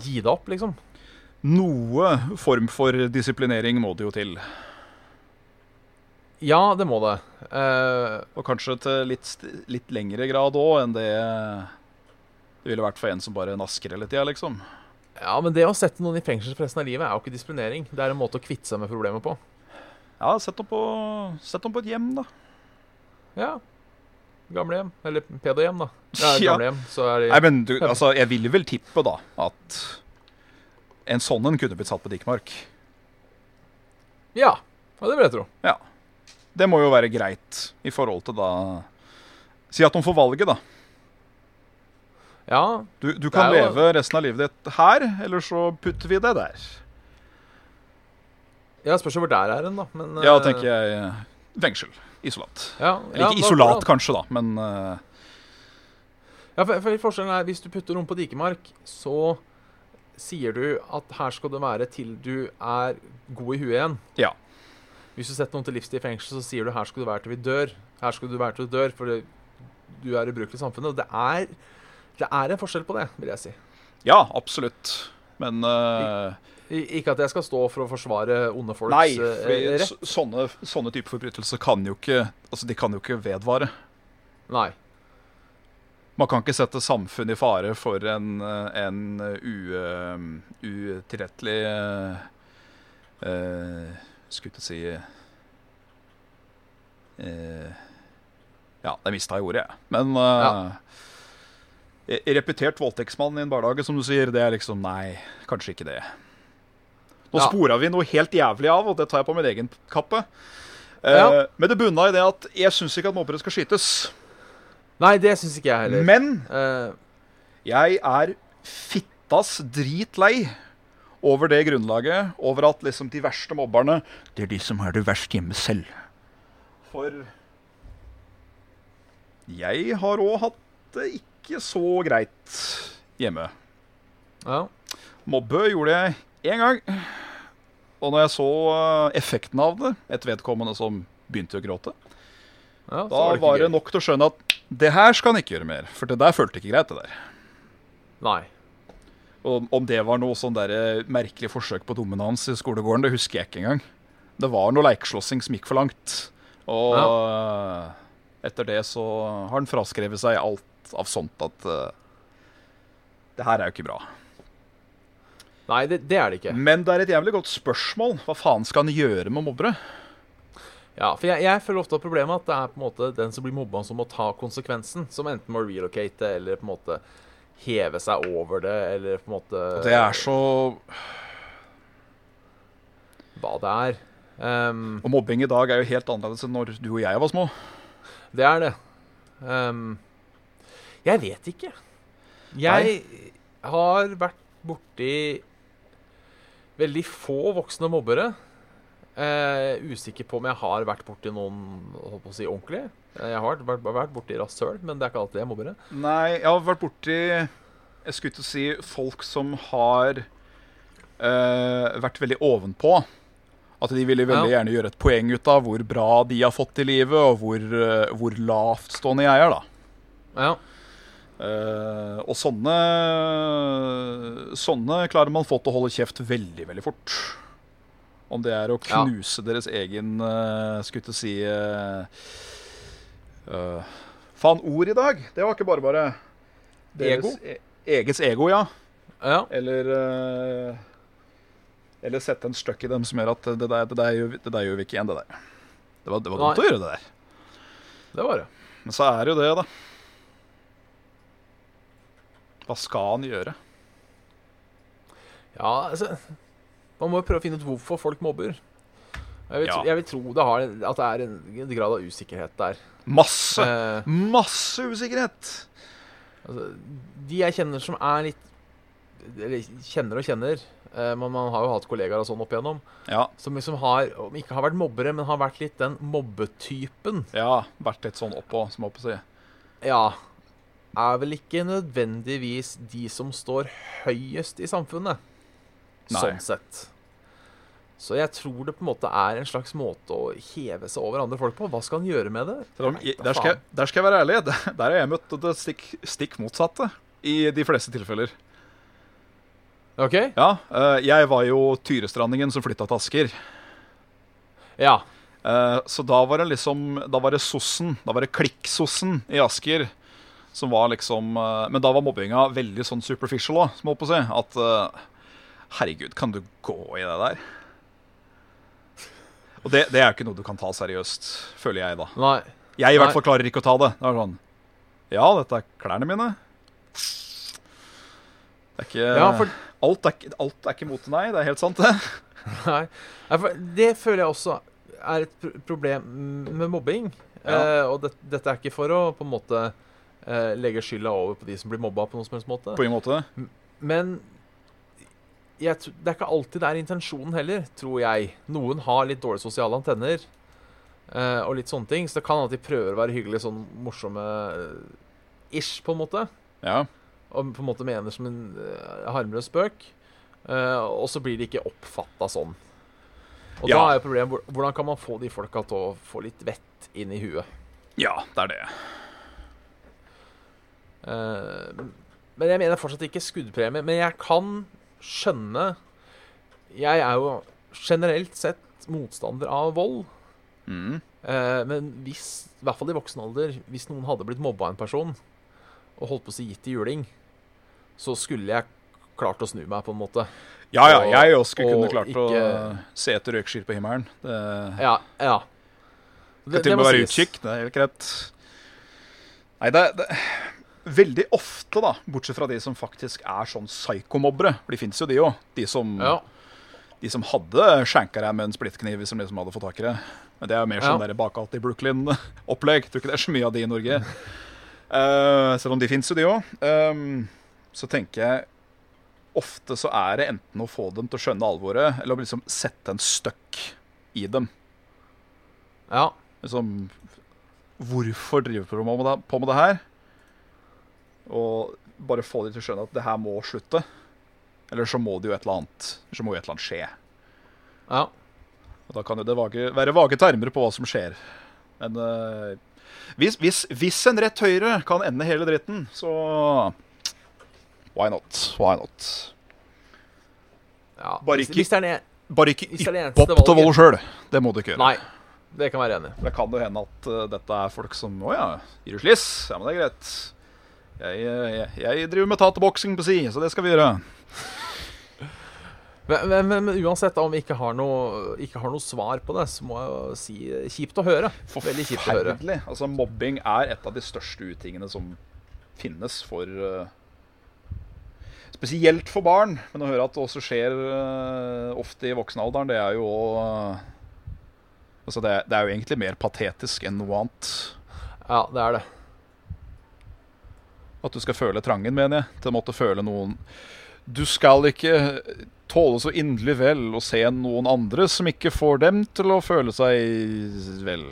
[SPEAKER 2] gi det opp, liksom.
[SPEAKER 3] Noe form for disiplinering må det jo til.
[SPEAKER 2] Ja, det må det. Eh,
[SPEAKER 3] Og kanskje til litt, st- litt lengre grad òg enn det det ville vært for en som bare nasker hele tida, liksom.
[SPEAKER 2] ja, men det å sette noen i fengsel for resten av livet er jo ikke disiplinering. Det er en måte å kvitte seg med problemet på.
[SPEAKER 3] Ja, sett dem på, sett dem på et hjem, da.
[SPEAKER 2] Ja. Gamlehjem. Eller pedohjem, da. Ja,
[SPEAKER 3] Ja.
[SPEAKER 2] gamlehjem, så er de
[SPEAKER 3] Nei, men du, altså, jeg vil vel tippe da at en sånn en kunne blitt satt på Dikmark.
[SPEAKER 2] Ja. ja, det vil jeg tro.
[SPEAKER 3] Det må jo være greit i forhold til da Si at hun får valget, da.
[SPEAKER 2] Ja,
[SPEAKER 3] Du, du kan
[SPEAKER 2] Det er jo-
[SPEAKER 3] leve resten av livet ditt her, eller så putter vi deg der.
[SPEAKER 2] jeg spørs jo hvor der er hen, da. Men,
[SPEAKER 3] Ja,
[SPEAKER 2] eh,
[SPEAKER 3] tenker jeg. eh, Fengsel. Isolat.
[SPEAKER 2] Ja,
[SPEAKER 3] Eller
[SPEAKER 2] ja,
[SPEAKER 3] ikke
[SPEAKER 2] da-
[SPEAKER 3] isolat,
[SPEAKER 2] da-
[SPEAKER 3] kanskje, da, men eh,
[SPEAKER 2] Ja, for, for forskjellen er Hvis du putter noen på dikemark, så sier du at her skal det være til du er god i huet igjen.
[SPEAKER 3] Ja.
[SPEAKER 2] Hvis du setter noen til livstid i fengsel, så sier du her skal du være til vi dør. Her skal du være til du dør, for det- du er ubrukelig i samfunnet. Og det er, det er en forskjell på det, vil jeg si.
[SPEAKER 3] Ja, absolutt. Men eh,
[SPEAKER 2] I, ikke at jeg skal stå for å forsvare onde folks
[SPEAKER 3] Nei,
[SPEAKER 2] eh,
[SPEAKER 3] fordi
[SPEAKER 2] rett.
[SPEAKER 3] så- sånne, sånne typer forbrytelser kan jo ikke Altså, de kan jo ikke vedvare.
[SPEAKER 2] Nei.
[SPEAKER 3] Man kan ikke sette samfunnet i fare for en, eh, en eh, u, eh, utilrettelig eh, eh, Skulle til å si eh, Ja, det mista jeg ordet, jeg. Men eh, eh, Repetert voldtektsmann i en barnehage, som du sier, det er liksom Nei, kanskje ikke det. Nå
[SPEAKER 2] Ja.
[SPEAKER 3] spora vi noe helt jævlig av, og det tar jeg på min egen kappe. Eh,
[SPEAKER 2] Ja.
[SPEAKER 3] Men det bunna i det at jeg syns ikke at mobbere skal skytes.
[SPEAKER 2] Nei, det syns ikke jeg heller.
[SPEAKER 3] Men
[SPEAKER 2] Eh,
[SPEAKER 3] Jeg er fittas dritlei over det grunnlaget, over at liksom de verste mobberne Det er de som har det verst hjemme selv. For jeg har òg hatt det ikke så greit hjemme.
[SPEAKER 2] ja.
[SPEAKER 3] Mobbe gjorde jeg én gang. Og når jeg så eh, effekten av det, et vedkommende som begynte å gråte,
[SPEAKER 2] Ja, så
[SPEAKER 3] da
[SPEAKER 2] ikke
[SPEAKER 3] var det
[SPEAKER 2] gøy.
[SPEAKER 3] nok til å skjønne at det her skal han ikke gjøre mer. For det der følte ikke greit, det der.
[SPEAKER 2] Nei.
[SPEAKER 3] Om, om det var noe sånn der eh, merkelig forsøk på dominans i skolegården, det husker jeg ikke engang. Det var noe lekeslåssing som gikk for langt. Og eh, etter det så har han fraskrevet seg alt av sånt at eh, Det her er jo ikke bra.
[SPEAKER 2] Nei, det, det er det ikke.
[SPEAKER 3] Men det er et jævlig godt spørsmål. Hva faen skal han gjøre med mobbere?
[SPEAKER 2] Ja, for jeg, jeg føler ofte at problemet er at det er på en måte den som blir mobba, som må ta konsekvensen. Som enten må relocate eller på en måte heve seg over det, eller på en måte
[SPEAKER 3] Det er så
[SPEAKER 2] Hva det er. Ehm,
[SPEAKER 3] Og mobbing i dag er jo helt annerledes enn når du og jeg var små.
[SPEAKER 2] det er det. Ehm, jeg vet ikke. Jeg har vært borti veldig få voksne mobbere. Eh, usikker på om jeg har vært borti noen holdt på å si, ordentlig. Eh, Jeg har vært, vært borti rasshøl, men det er ikke alltid jeg mobber. det.
[SPEAKER 3] Nei, jeg har vært borti Jeg skulle til å si folk som har eh, vært veldig ovenpå. At de ville veldig
[SPEAKER 2] Ja.
[SPEAKER 3] gjerne gjøre et poeng ut av hvor bra de har fått i livet, og hvor, uh, hvor lavtstående jeg er, da.
[SPEAKER 2] Ja.
[SPEAKER 3] Eh, og sånne Sånne klarer man fått å holde kjeft veldig, veldig fort. Om det er å
[SPEAKER 2] Ja.
[SPEAKER 3] knuse deres egen uh, Skulle til å si eh, eh, Faen, ord i dag! Det var ikke bare bare. Deres
[SPEAKER 2] Ego?
[SPEAKER 3] E eget ego, ja.
[SPEAKER 2] ja.
[SPEAKER 3] Eller eh, Eller sette en støkk i dem som gjør at det der, det, der gjør, vi- det der gjør vi ikke igjen, det der. Det var, det var dumt å
[SPEAKER 2] Nei.
[SPEAKER 3] gjøre det der.
[SPEAKER 2] Det var det.
[SPEAKER 3] Men så er det jo det, da. Hva skal han gjøre?
[SPEAKER 2] Ja, altså Man må jo prøve å finne ut hvorfor folk mobber. Jeg vil,
[SPEAKER 3] Ja.
[SPEAKER 2] jeg vil tro det har, at det er en, en grad av usikkerhet der.
[SPEAKER 3] Masse!
[SPEAKER 2] Eh,
[SPEAKER 3] Masse usikkerhet!
[SPEAKER 2] altså, de jeg kjenner som er litt Eller kjenner og kjenner, eh, men man har jo hatt kollegaer og sånn opp igjennom,
[SPEAKER 3] Ja,
[SPEAKER 2] som liksom har, om ikke har vært mobbere, men har vært litt den mobbetypen.
[SPEAKER 3] ja. Vært litt sånn oppå, som jeg holdt på å si.
[SPEAKER 2] Ja. Er vel ikke nødvendigvis de som står høyest i samfunnet.
[SPEAKER 3] Nei.
[SPEAKER 2] Sånn sett. Så jeg tror det på en måte er en slags måte å heve seg over andre folk på. Hva skal han gjøre med det?
[SPEAKER 3] Selv om,
[SPEAKER 2] Nei,
[SPEAKER 3] jeg,
[SPEAKER 2] da
[SPEAKER 3] der, skal,
[SPEAKER 2] faen.
[SPEAKER 3] jeg- der skal jeg være ærlig. Der der har jeg møtt det stikk, stikk motsatte i de fleste tilfeller.
[SPEAKER 2] OK?
[SPEAKER 3] Ja, eh, jeg var jo tyrestrandingen som flytta til Asker.
[SPEAKER 2] Ja.
[SPEAKER 3] Eh, Så da var det liksom Da var det sossen, da var det klikksossen i Asker Som var liksom eh, Men da var mobbinga veldig sånn superficial også, Som jeg holdt på å si At eh, herregud, kan du gå i det der? Og det, det er jo ikke noe du kan ta seriøst Føler jeg da
[SPEAKER 2] Nei.
[SPEAKER 3] Jeg i
[SPEAKER 2] Nei.
[SPEAKER 3] hvert fall klarer ikke å ta det Det er sånn Ja, dette er klærne mine Det er ikke
[SPEAKER 2] Ja, for,
[SPEAKER 3] alt, er, ikke- alt er ikke mot nei, det er helt sant det
[SPEAKER 2] nei. Nei, for det føler jeg også er et pro- problem med mobbing. Eh,
[SPEAKER 3] Ja.
[SPEAKER 2] og det, dette er ikke for å på en måte eh, legge skylda over på de som blir mobba på noen som helst måte.
[SPEAKER 3] På en måte
[SPEAKER 2] Men jeg, tr- det er ikke alltid det er intensjonen heller, tror jeg. Noen har litt dårlige sosiale antenner eh, og litt sånne ting, så det kan hende at de prøver å være hyggelige, sånn morsomme eh, ish, på en måte.
[SPEAKER 3] Ja,
[SPEAKER 2] Og på en måte mener som en eh, harmløs spøk. Eh, og så blir de ikke oppfatta sånn. Og da
[SPEAKER 3] Ja.
[SPEAKER 2] er jo problemet hvor- hvordan kan man få de folka til å få litt vett inn i huet.
[SPEAKER 3] ja det er det
[SPEAKER 2] Eh, men jeg mener fortsatt ikke skuddpremie. Men jeg kan skjønne Jeg er jo generelt sett motstander av vold.
[SPEAKER 3] mm.
[SPEAKER 2] eh, men hvis, i hvert fall i voksen alder, hvis noen hadde blitt mobba av en person og holdt på å si gitt i juling, så skulle jeg klart å snu meg, på en måte.
[SPEAKER 3] Ja, ja,
[SPEAKER 2] Og-
[SPEAKER 3] jeg også skulle kunne
[SPEAKER 2] og
[SPEAKER 3] klart
[SPEAKER 2] ikke-
[SPEAKER 3] å se etter røykskyer på himmelen. Det kan
[SPEAKER 2] Ja. ja. Det-
[SPEAKER 3] til
[SPEAKER 2] det
[SPEAKER 3] og med
[SPEAKER 2] må
[SPEAKER 3] være
[SPEAKER 2] sies.
[SPEAKER 3] utkikk. Det er helt greit. Nei, det, det Veldig ofte, da, bortsett fra de som faktisk er sånn psykomobbere, for de fins jo de òg. De, som-
[SPEAKER 2] Ja.
[SPEAKER 3] de som hadde skjenka deg med en splittkniv hvis de liksom hadde fått tak i det. Men det er jo mer sånn
[SPEAKER 2] Ja.
[SPEAKER 3] der bakgalt i Brooklyn-opplegg. Tror ikke det er så mye av de i Norge. Eh, selv om de fins jo, de òg. så tenker jeg ofte så er det enten å få dem til å skjønne alvoret, eller å liksom sette en støkk i dem.
[SPEAKER 2] ja.
[SPEAKER 3] Liksom, hvorfor driver du på med det- på med det her? Og bare få dem til å skjønne at det her må slutte. Eller så må det jo et eller annet, så må jo et eller annet skje.
[SPEAKER 2] Ja.
[SPEAKER 3] Og da kan jo det vage, være vage termer på hva som skjer. Men eh, hvis, hvis, hvis en rett høyre kan ende hele dritten, så Why not? Why not?
[SPEAKER 2] ja.
[SPEAKER 3] Bare
[SPEAKER 2] Hvis,
[SPEAKER 3] ikke-
[SPEAKER 2] hvis det er en,
[SPEAKER 3] Bare ikke
[SPEAKER 2] hvis det er det
[SPEAKER 3] yppe
[SPEAKER 2] eneste
[SPEAKER 3] opp til vold
[SPEAKER 2] valget.
[SPEAKER 3] sjøl. Det må du ikke gjøre.
[SPEAKER 2] Nei. Det kan jeg være enig i.
[SPEAKER 3] For Det kan jo hende at eh, dette er folk som Å ja, gir du sliss? Ja, men det er greit. Jeg, eh, jeg, jeg driver med tateboksing på si, så det skal vi gjøre.
[SPEAKER 2] Men, men, men, men uansett, da, om vi ikke har, noe, ikke har noe svar på det, så må jeg jo si eh, kjipt å høre. Veldig kjipt å høre.
[SPEAKER 3] Forferdelig. Altså, mobbing er et av de største utingene som finnes for eh, Spesielt for barn, men å høre at det også skjer eh, ofte i voksenalderen, det er jo eh, Altså, det, er- det er jo egentlig mer patetisk enn noe annet.
[SPEAKER 2] Ja, det er det.
[SPEAKER 3] At du skal føle trangen, mener jeg. Til å måtte føle noen Du skal ikke tåle så inderlig vel å se noen andre som ikke får dem til å føle seg vel.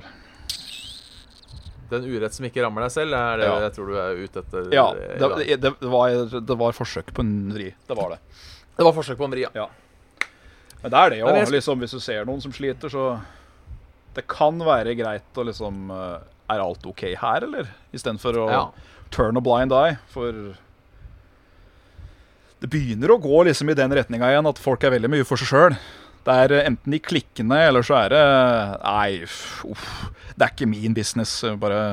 [SPEAKER 2] Den urett som ikke rammer deg selv, er det
[SPEAKER 3] Ja.
[SPEAKER 2] jeg tror du er ute etter.
[SPEAKER 3] Ja,
[SPEAKER 2] eh,
[SPEAKER 3] det, det, det, var, det var forsøk på en vri. Det var det.
[SPEAKER 2] Det var forsøk på en vri, ja.
[SPEAKER 3] Men det er det jo.
[SPEAKER 2] Men jeg sk-
[SPEAKER 3] Liksom, hvis du ser noen som sliter, så Det kan være greit å liksom eh, Er alt OK her, eller? Istedenfor å
[SPEAKER 2] ja.
[SPEAKER 3] turn a blind eye. For det begynner å gå liksom i den retninga igjen, at folk er veldig mye for seg sjøl. Det er eh, enten i klikkene, eller så er det Nei, f- uff. Det er ikke min business. eh, Bare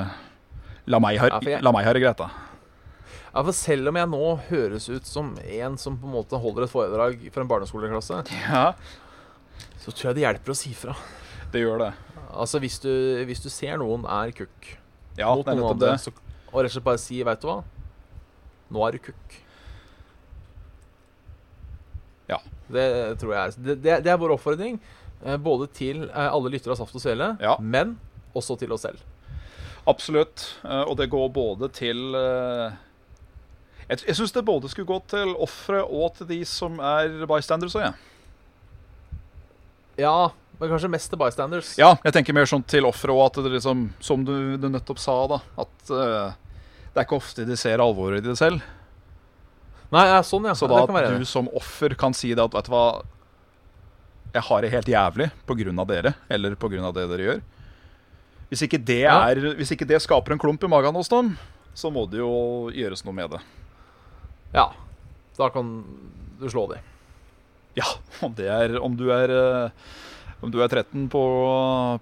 [SPEAKER 3] la meg ha,
[SPEAKER 2] Ja, for jeg-
[SPEAKER 3] la meg ha det greit, da.
[SPEAKER 2] Ja, for selv om jeg nå høres ut som en som på en måte holder et foredrag for en barneskoleklasse,
[SPEAKER 3] Ja,
[SPEAKER 2] så tror jeg det hjelper å si fra.
[SPEAKER 3] det gjør det.
[SPEAKER 2] Altså, hvis du, hvis du ser noen er kukk
[SPEAKER 3] Ja,
[SPEAKER 2] mot
[SPEAKER 3] det er nettopp
[SPEAKER 2] noen andre,
[SPEAKER 3] det.
[SPEAKER 2] så, og rett og slett bare si, veit du hva, nå er du kukk.
[SPEAKER 3] Ja.
[SPEAKER 2] Det tror jeg er Det, det, det er vår oppfordring, eh, både til eh, alle lyttere av Saft og Svele,
[SPEAKER 3] Ja.
[SPEAKER 2] men også til oss selv.
[SPEAKER 3] Absolutt. Eh, Og det går både til eh, Jeg, jeg syns det både skulle gå til ofre og til de som er bystanders òg, jeg.
[SPEAKER 2] Ja, men kanskje mest til bystanders.
[SPEAKER 3] Ja, jeg tenker mer sånn til offeret òg, at det liksom, som du, du nettopp sa, da At eh, det er ikke ofte de ser alvoret i det selv.
[SPEAKER 2] Nei, ja, sånn, ja.
[SPEAKER 3] Så
[SPEAKER 2] ja,
[SPEAKER 3] da
[SPEAKER 2] det kan være
[SPEAKER 3] at du
[SPEAKER 2] det.
[SPEAKER 3] som offer kan si det at vet du hva Jeg har det helt jævlig pga. dere, eller pga. det dere gjør. Hvis ikke det,
[SPEAKER 2] Ja.
[SPEAKER 3] er, hvis ikke det skaper en klump i magen hos dem, så må det jo gjøres noe med det.
[SPEAKER 2] Ja. Da kan du slå de.
[SPEAKER 3] Ja, om, det er, om du er eh, Om du er 13 på,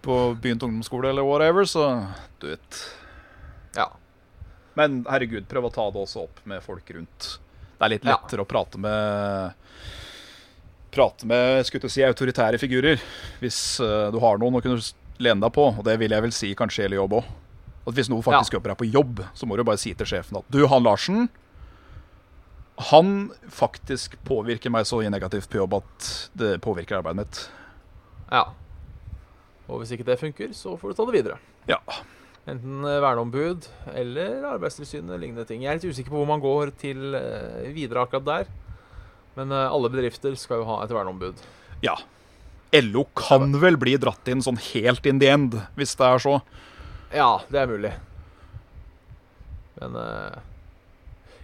[SPEAKER 3] på begynt ungdomsskole eller whatever, så du vet.
[SPEAKER 2] Ja.
[SPEAKER 3] Men herregud, prøv å ta det også opp med folk rundt. Det er litt
[SPEAKER 2] Ja.
[SPEAKER 3] lettere å prate med Prate med jeg skulle til å si, autoritære figurer hvis eh, du har noen å kunne s- lene deg på. Og det vil jeg vel si kanskje gjelder jobb òg. At hvis noen faktisk jobber her på jobb, så må du bare si til sjefen at du, han Larsen Han faktisk påvirker meg så negativt på jobb at det påvirker arbeidet mitt.
[SPEAKER 2] ja. Og hvis ikke det funker, så får du ta det videre.
[SPEAKER 3] Ja.
[SPEAKER 2] Enten eh, verneombud eller Arbeidstilsynet eller lignende ting. Jeg er litt usikker på hvor man går til eh, videre akkurat der. Men eh, alle bedrifter skal jo ha et verneombud.
[SPEAKER 3] ja. LO kan vel bli dratt inn sånn helt in the end, hvis det er så.
[SPEAKER 2] Ja, det er mulig. Men eh,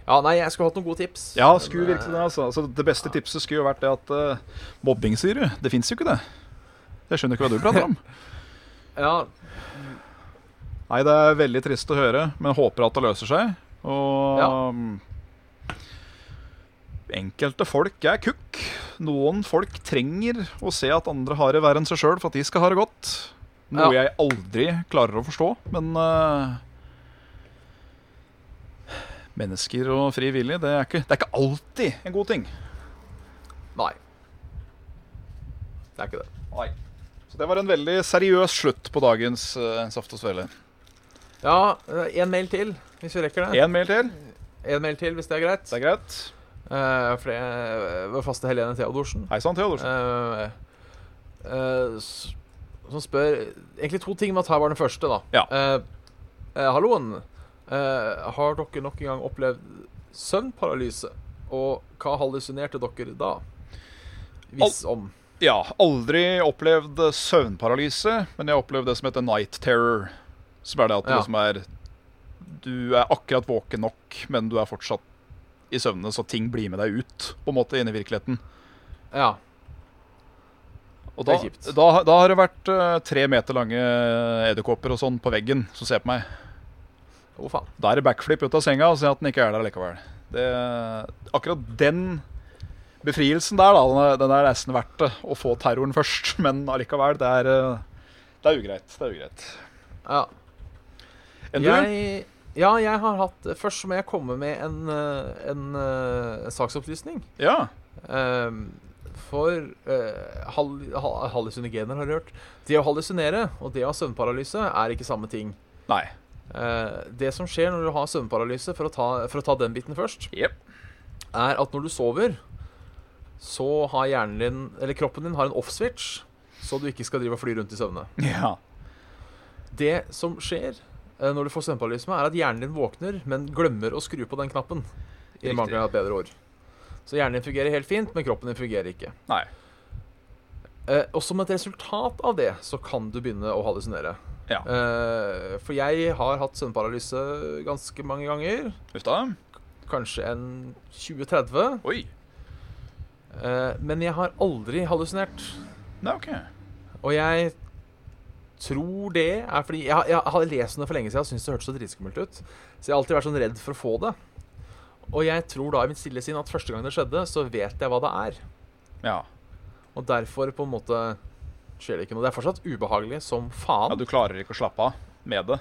[SPEAKER 2] Ja, nei, jeg skulle hatt noen gode tips.
[SPEAKER 3] Ja,
[SPEAKER 2] Men,
[SPEAKER 3] skulle
[SPEAKER 2] eh,
[SPEAKER 3] virkelig det. altså. altså Det beste tipset skulle jo vært det at eh, mobbing, sier du. Det fins jo ikke, det. Jeg skjønner ikke hva du prater om.
[SPEAKER 2] Ja,
[SPEAKER 3] Nei, det er veldig trist å høre, men håper at det løser seg. Og
[SPEAKER 2] Ja.
[SPEAKER 3] um, Enkelte folk er kukk. Noen folk trenger å se at andre har det verre enn seg sjøl for at de skal ha det godt. Noe
[SPEAKER 2] Ja.
[SPEAKER 3] jeg aldri klarer å forstå, men eh, Mennesker og fri vilje, det er, ikke, det er ikke alltid en god ting.
[SPEAKER 2] nei. Det er ikke det.
[SPEAKER 3] Nei. Så det var en veldig seriøs slutt på dagens eh, Saft og Svele.
[SPEAKER 2] Ja, eh, en mail til, hvis vi rekker det.
[SPEAKER 3] Én mail til.
[SPEAKER 2] En mail til, hvis det er greit.
[SPEAKER 3] Det er greit.
[SPEAKER 2] Eh, for det eh, var faste Helene Theodorsen.
[SPEAKER 3] Hei sann, Theodorsen.
[SPEAKER 2] Eh, eh, s- som spør Egentlig to ting, men ta bare den første, da.
[SPEAKER 3] Ja.
[SPEAKER 2] Eh, eh, halloen. Eh, har dere nok en gang opplevd søvnparalyse? Og hva hallusinerte dere da? Hvis om.
[SPEAKER 3] Ja, aldri opplevd søvnparalyse, men jeg har opplevd det som heter night terror. Som er det at du
[SPEAKER 2] Ja.
[SPEAKER 3] liksom er Du er akkurat våken nok, men du er fortsatt i søvne, så ting blir med deg ut, på en måte, inn i virkeligheten.
[SPEAKER 2] Ja.
[SPEAKER 3] Og da,
[SPEAKER 2] Det er kjipt.
[SPEAKER 3] da, da har det vært eh, tre meter lange edderkopper og sånn på veggen som ser på meg.
[SPEAKER 2] Å, faen.
[SPEAKER 3] Da er det backflip ut av senga og se at den ikke er der likevel. Det, akkurat den befrielsen der, da, den er, den er nesten verdt det. Å få terroren først, men allikevel, det er, eh, det er ugreit. Det er ugreit.
[SPEAKER 2] Ja.
[SPEAKER 3] Enn du?
[SPEAKER 2] Jeg, ja, jeg har hatt Først må jeg komme med en, eh, en, eh, saksopplysning.
[SPEAKER 3] Ja.
[SPEAKER 2] Ehm, for eh, hall, ha- hallusinogener har jeg hørt. Det å hallusinere og det å ha søvnparalyse er ikke samme ting.
[SPEAKER 3] Nei.
[SPEAKER 2] Eh, det som skjer når du har søvnparalyse, for å ta, for å ta den biten først,
[SPEAKER 3] Jep.
[SPEAKER 2] er at når du sover, så har hjernen din, eller kroppen din, har en off-switch, så du ikke skal drive og fly rundt i søvne.
[SPEAKER 3] Ja.
[SPEAKER 2] Det som skjer eh, når du får søvnparalyse, er at hjernen din våkner, men glemmer å skru på den knappen. I
[SPEAKER 3] Riktig.
[SPEAKER 2] mangel av et bedre ord. Så hjernen din fungerer helt fint, men kroppen din fungerer ikke.
[SPEAKER 3] Nei.
[SPEAKER 2] Eh, og som et resultat av det, så kan du begynne å hallusinere.
[SPEAKER 3] Ja.
[SPEAKER 2] Eh, for jeg har hatt søvnparalyse ganske mange ganger.
[SPEAKER 3] Huff da.
[SPEAKER 2] Kanskje en 20-30.
[SPEAKER 3] Oi.
[SPEAKER 2] Eh, men jeg har aldri hallusinert.
[SPEAKER 3] Nei, ok.
[SPEAKER 2] Og jeg tror det er fordi Jeg, jeg hadde lest noe for lenge siden og syntes det hørtes så dritskummelt ut. Så jeg har alltid vært sånn redd for å få det. Og jeg tror da i mitt stille sinn at første gang det skjedde, så vet jeg hva det er.
[SPEAKER 3] Ja.
[SPEAKER 2] Og derfor på en måte skjer det ikke noe. Det er fortsatt ubehagelig som faen.
[SPEAKER 3] ja. Du klarer ikke å slappe av med det.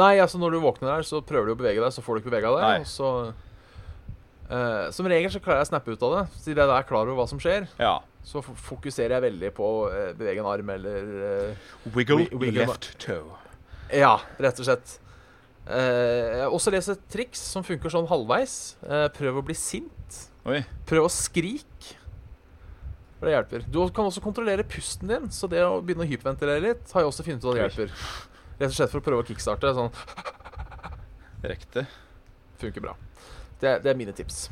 [SPEAKER 2] Nei, altså når du våkner der, så prøver du å bevege deg, så får du ikke bevega deg.
[SPEAKER 3] Nei.
[SPEAKER 2] og Så, eh, som regel så klarer jeg å snappe ut av det. Siden jeg da er klar over hva som skjer,
[SPEAKER 3] Ja.
[SPEAKER 2] så f- fokuserer jeg veldig på å eh, bevege en arm eller eh,
[SPEAKER 3] Wiggle,
[SPEAKER 2] Wi- wiggle
[SPEAKER 3] toe.
[SPEAKER 2] Ja, rett og slett. Eh, jeg har også lest et triks som funker sånn halvveis. Eh, prøv å bli sint.
[SPEAKER 3] Oi.
[SPEAKER 2] Prøv å skrike. For det hjelper. Du kan også kontrollere pusten din, så det å begynne å hyperventilere litt har jeg også funnet ut at det hjelper. Rett og slett for å prøve å kickstarte. Sånn
[SPEAKER 3] Riktig.
[SPEAKER 2] funker bra. Det, det er mine tips.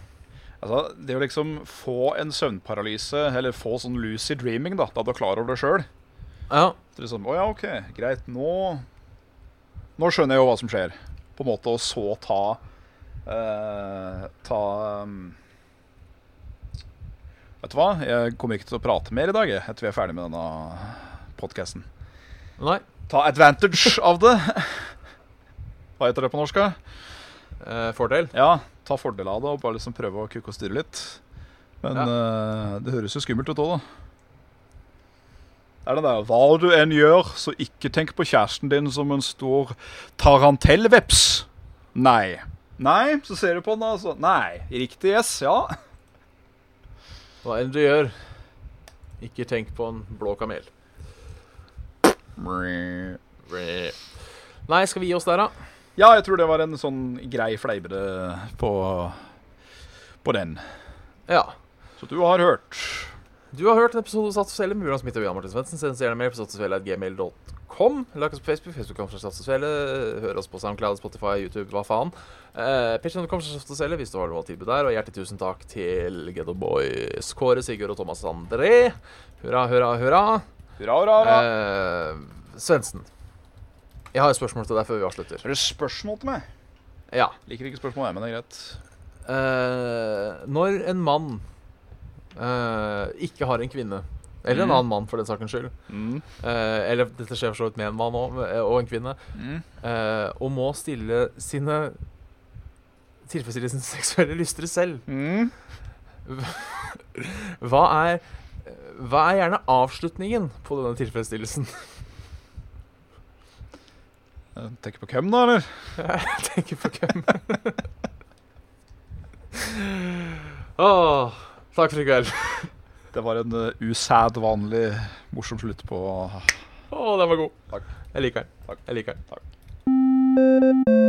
[SPEAKER 3] Altså, det å liksom få en søvnparalyse, eller få sånn lucy dreaming, da, da du er klar over det sjøl
[SPEAKER 2] Ja,
[SPEAKER 3] Liksom, å ja, OK, greit, nå Nå skjønner jeg jo hva som skjer. På en måte, og så ta eh, Ta um, Vet du hva, jeg kommer ikke til å prate mer i dag jeg, etter vi er ferdig med denne podkasten.
[SPEAKER 2] nei.
[SPEAKER 3] Ta advantage av det. Hva heter det på norsk? da?
[SPEAKER 2] Eh, fordel.
[SPEAKER 3] Ja, ta fordel av det og bare liksom prøve å kukke og styre litt. Men eh, det høres jo skummelt ut òg, da. Det er det der Hva du enn gjør, så ikke tenk på kjæresten din som en stor tarantellveps. Nei. Nei, så ser du på den, da. Så nei. Riktig yes, ja.
[SPEAKER 2] Hva enn du gjør, ikke tenk på en blå kamel. Nei, skal vi gi oss der, da?
[SPEAKER 3] Ja, jeg tror det var en sånn grei fleipete på, på den.
[SPEAKER 2] Ja.
[SPEAKER 3] Så du har hørt.
[SPEAKER 2] Du har hørt en episode av Statusfelle med Bjørn Smith og Jan Martin Svendsen. Send oss gjerne mail på statusfelle.gmail.com. Lag oss på Facebook, facebook.com slash statusfelle. Hør oss på SoundCloud, Spotify, YouTube, hva faen. Uh, Patreon.com slash statusfelle hvis du har noe tilbud der. Og hjertelig tusen takk til Ghetto Boys, Kåre, Sigurd og Thomas André. Hurra, hurra, hurra.
[SPEAKER 3] Hurra, hurra, hurra.
[SPEAKER 2] Eh, Svendsen. Jeg har et spørsmål til deg før vi avslutter.
[SPEAKER 3] er det spørsmål til meg?
[SPEAKER 2] Ja.
[SPEAKER 3] Liker ikke spørsmål, jeg, men det er greit.
[SPEAKER 2] Eh, når en mann eh, ikke har en kvinne, eller en
[SPEAKER 3] Mm.
[SPEAKER 2] annen mann for den sakens skyld
[SPEAKER 3] Mm.
[SPEAKER 2] eh, Eller dette skjer for så vidt med en mann og, og en kvinne,
[SPEAKER 3] Mm.
[SPEAKER 2] eh, og må stille sine tilfredsstille sine seksuelle lyster selv.
[SPEAKER 3] Mm.
[SPEAKER 2] Hva er hva er gjerne avslutningen på denne tilfredsstillelsen?
[SPEAKER 3] Eh, Tenker på hvem da, eller?
[SPEAKER 2] Jeg tenker på hvem. Åh, takk for i kveld.
[SPEAKER 3] Det var en eh, usædvanlig morsom slutt på ah,
[SPEAKER 2] Åh, den var god.
[SPEAKER 3] Takk.
[SPEAKER 2] Jeg liker den.
[SPEAKER 3] Takk.
[SPEAKER 2] Jeg liker den.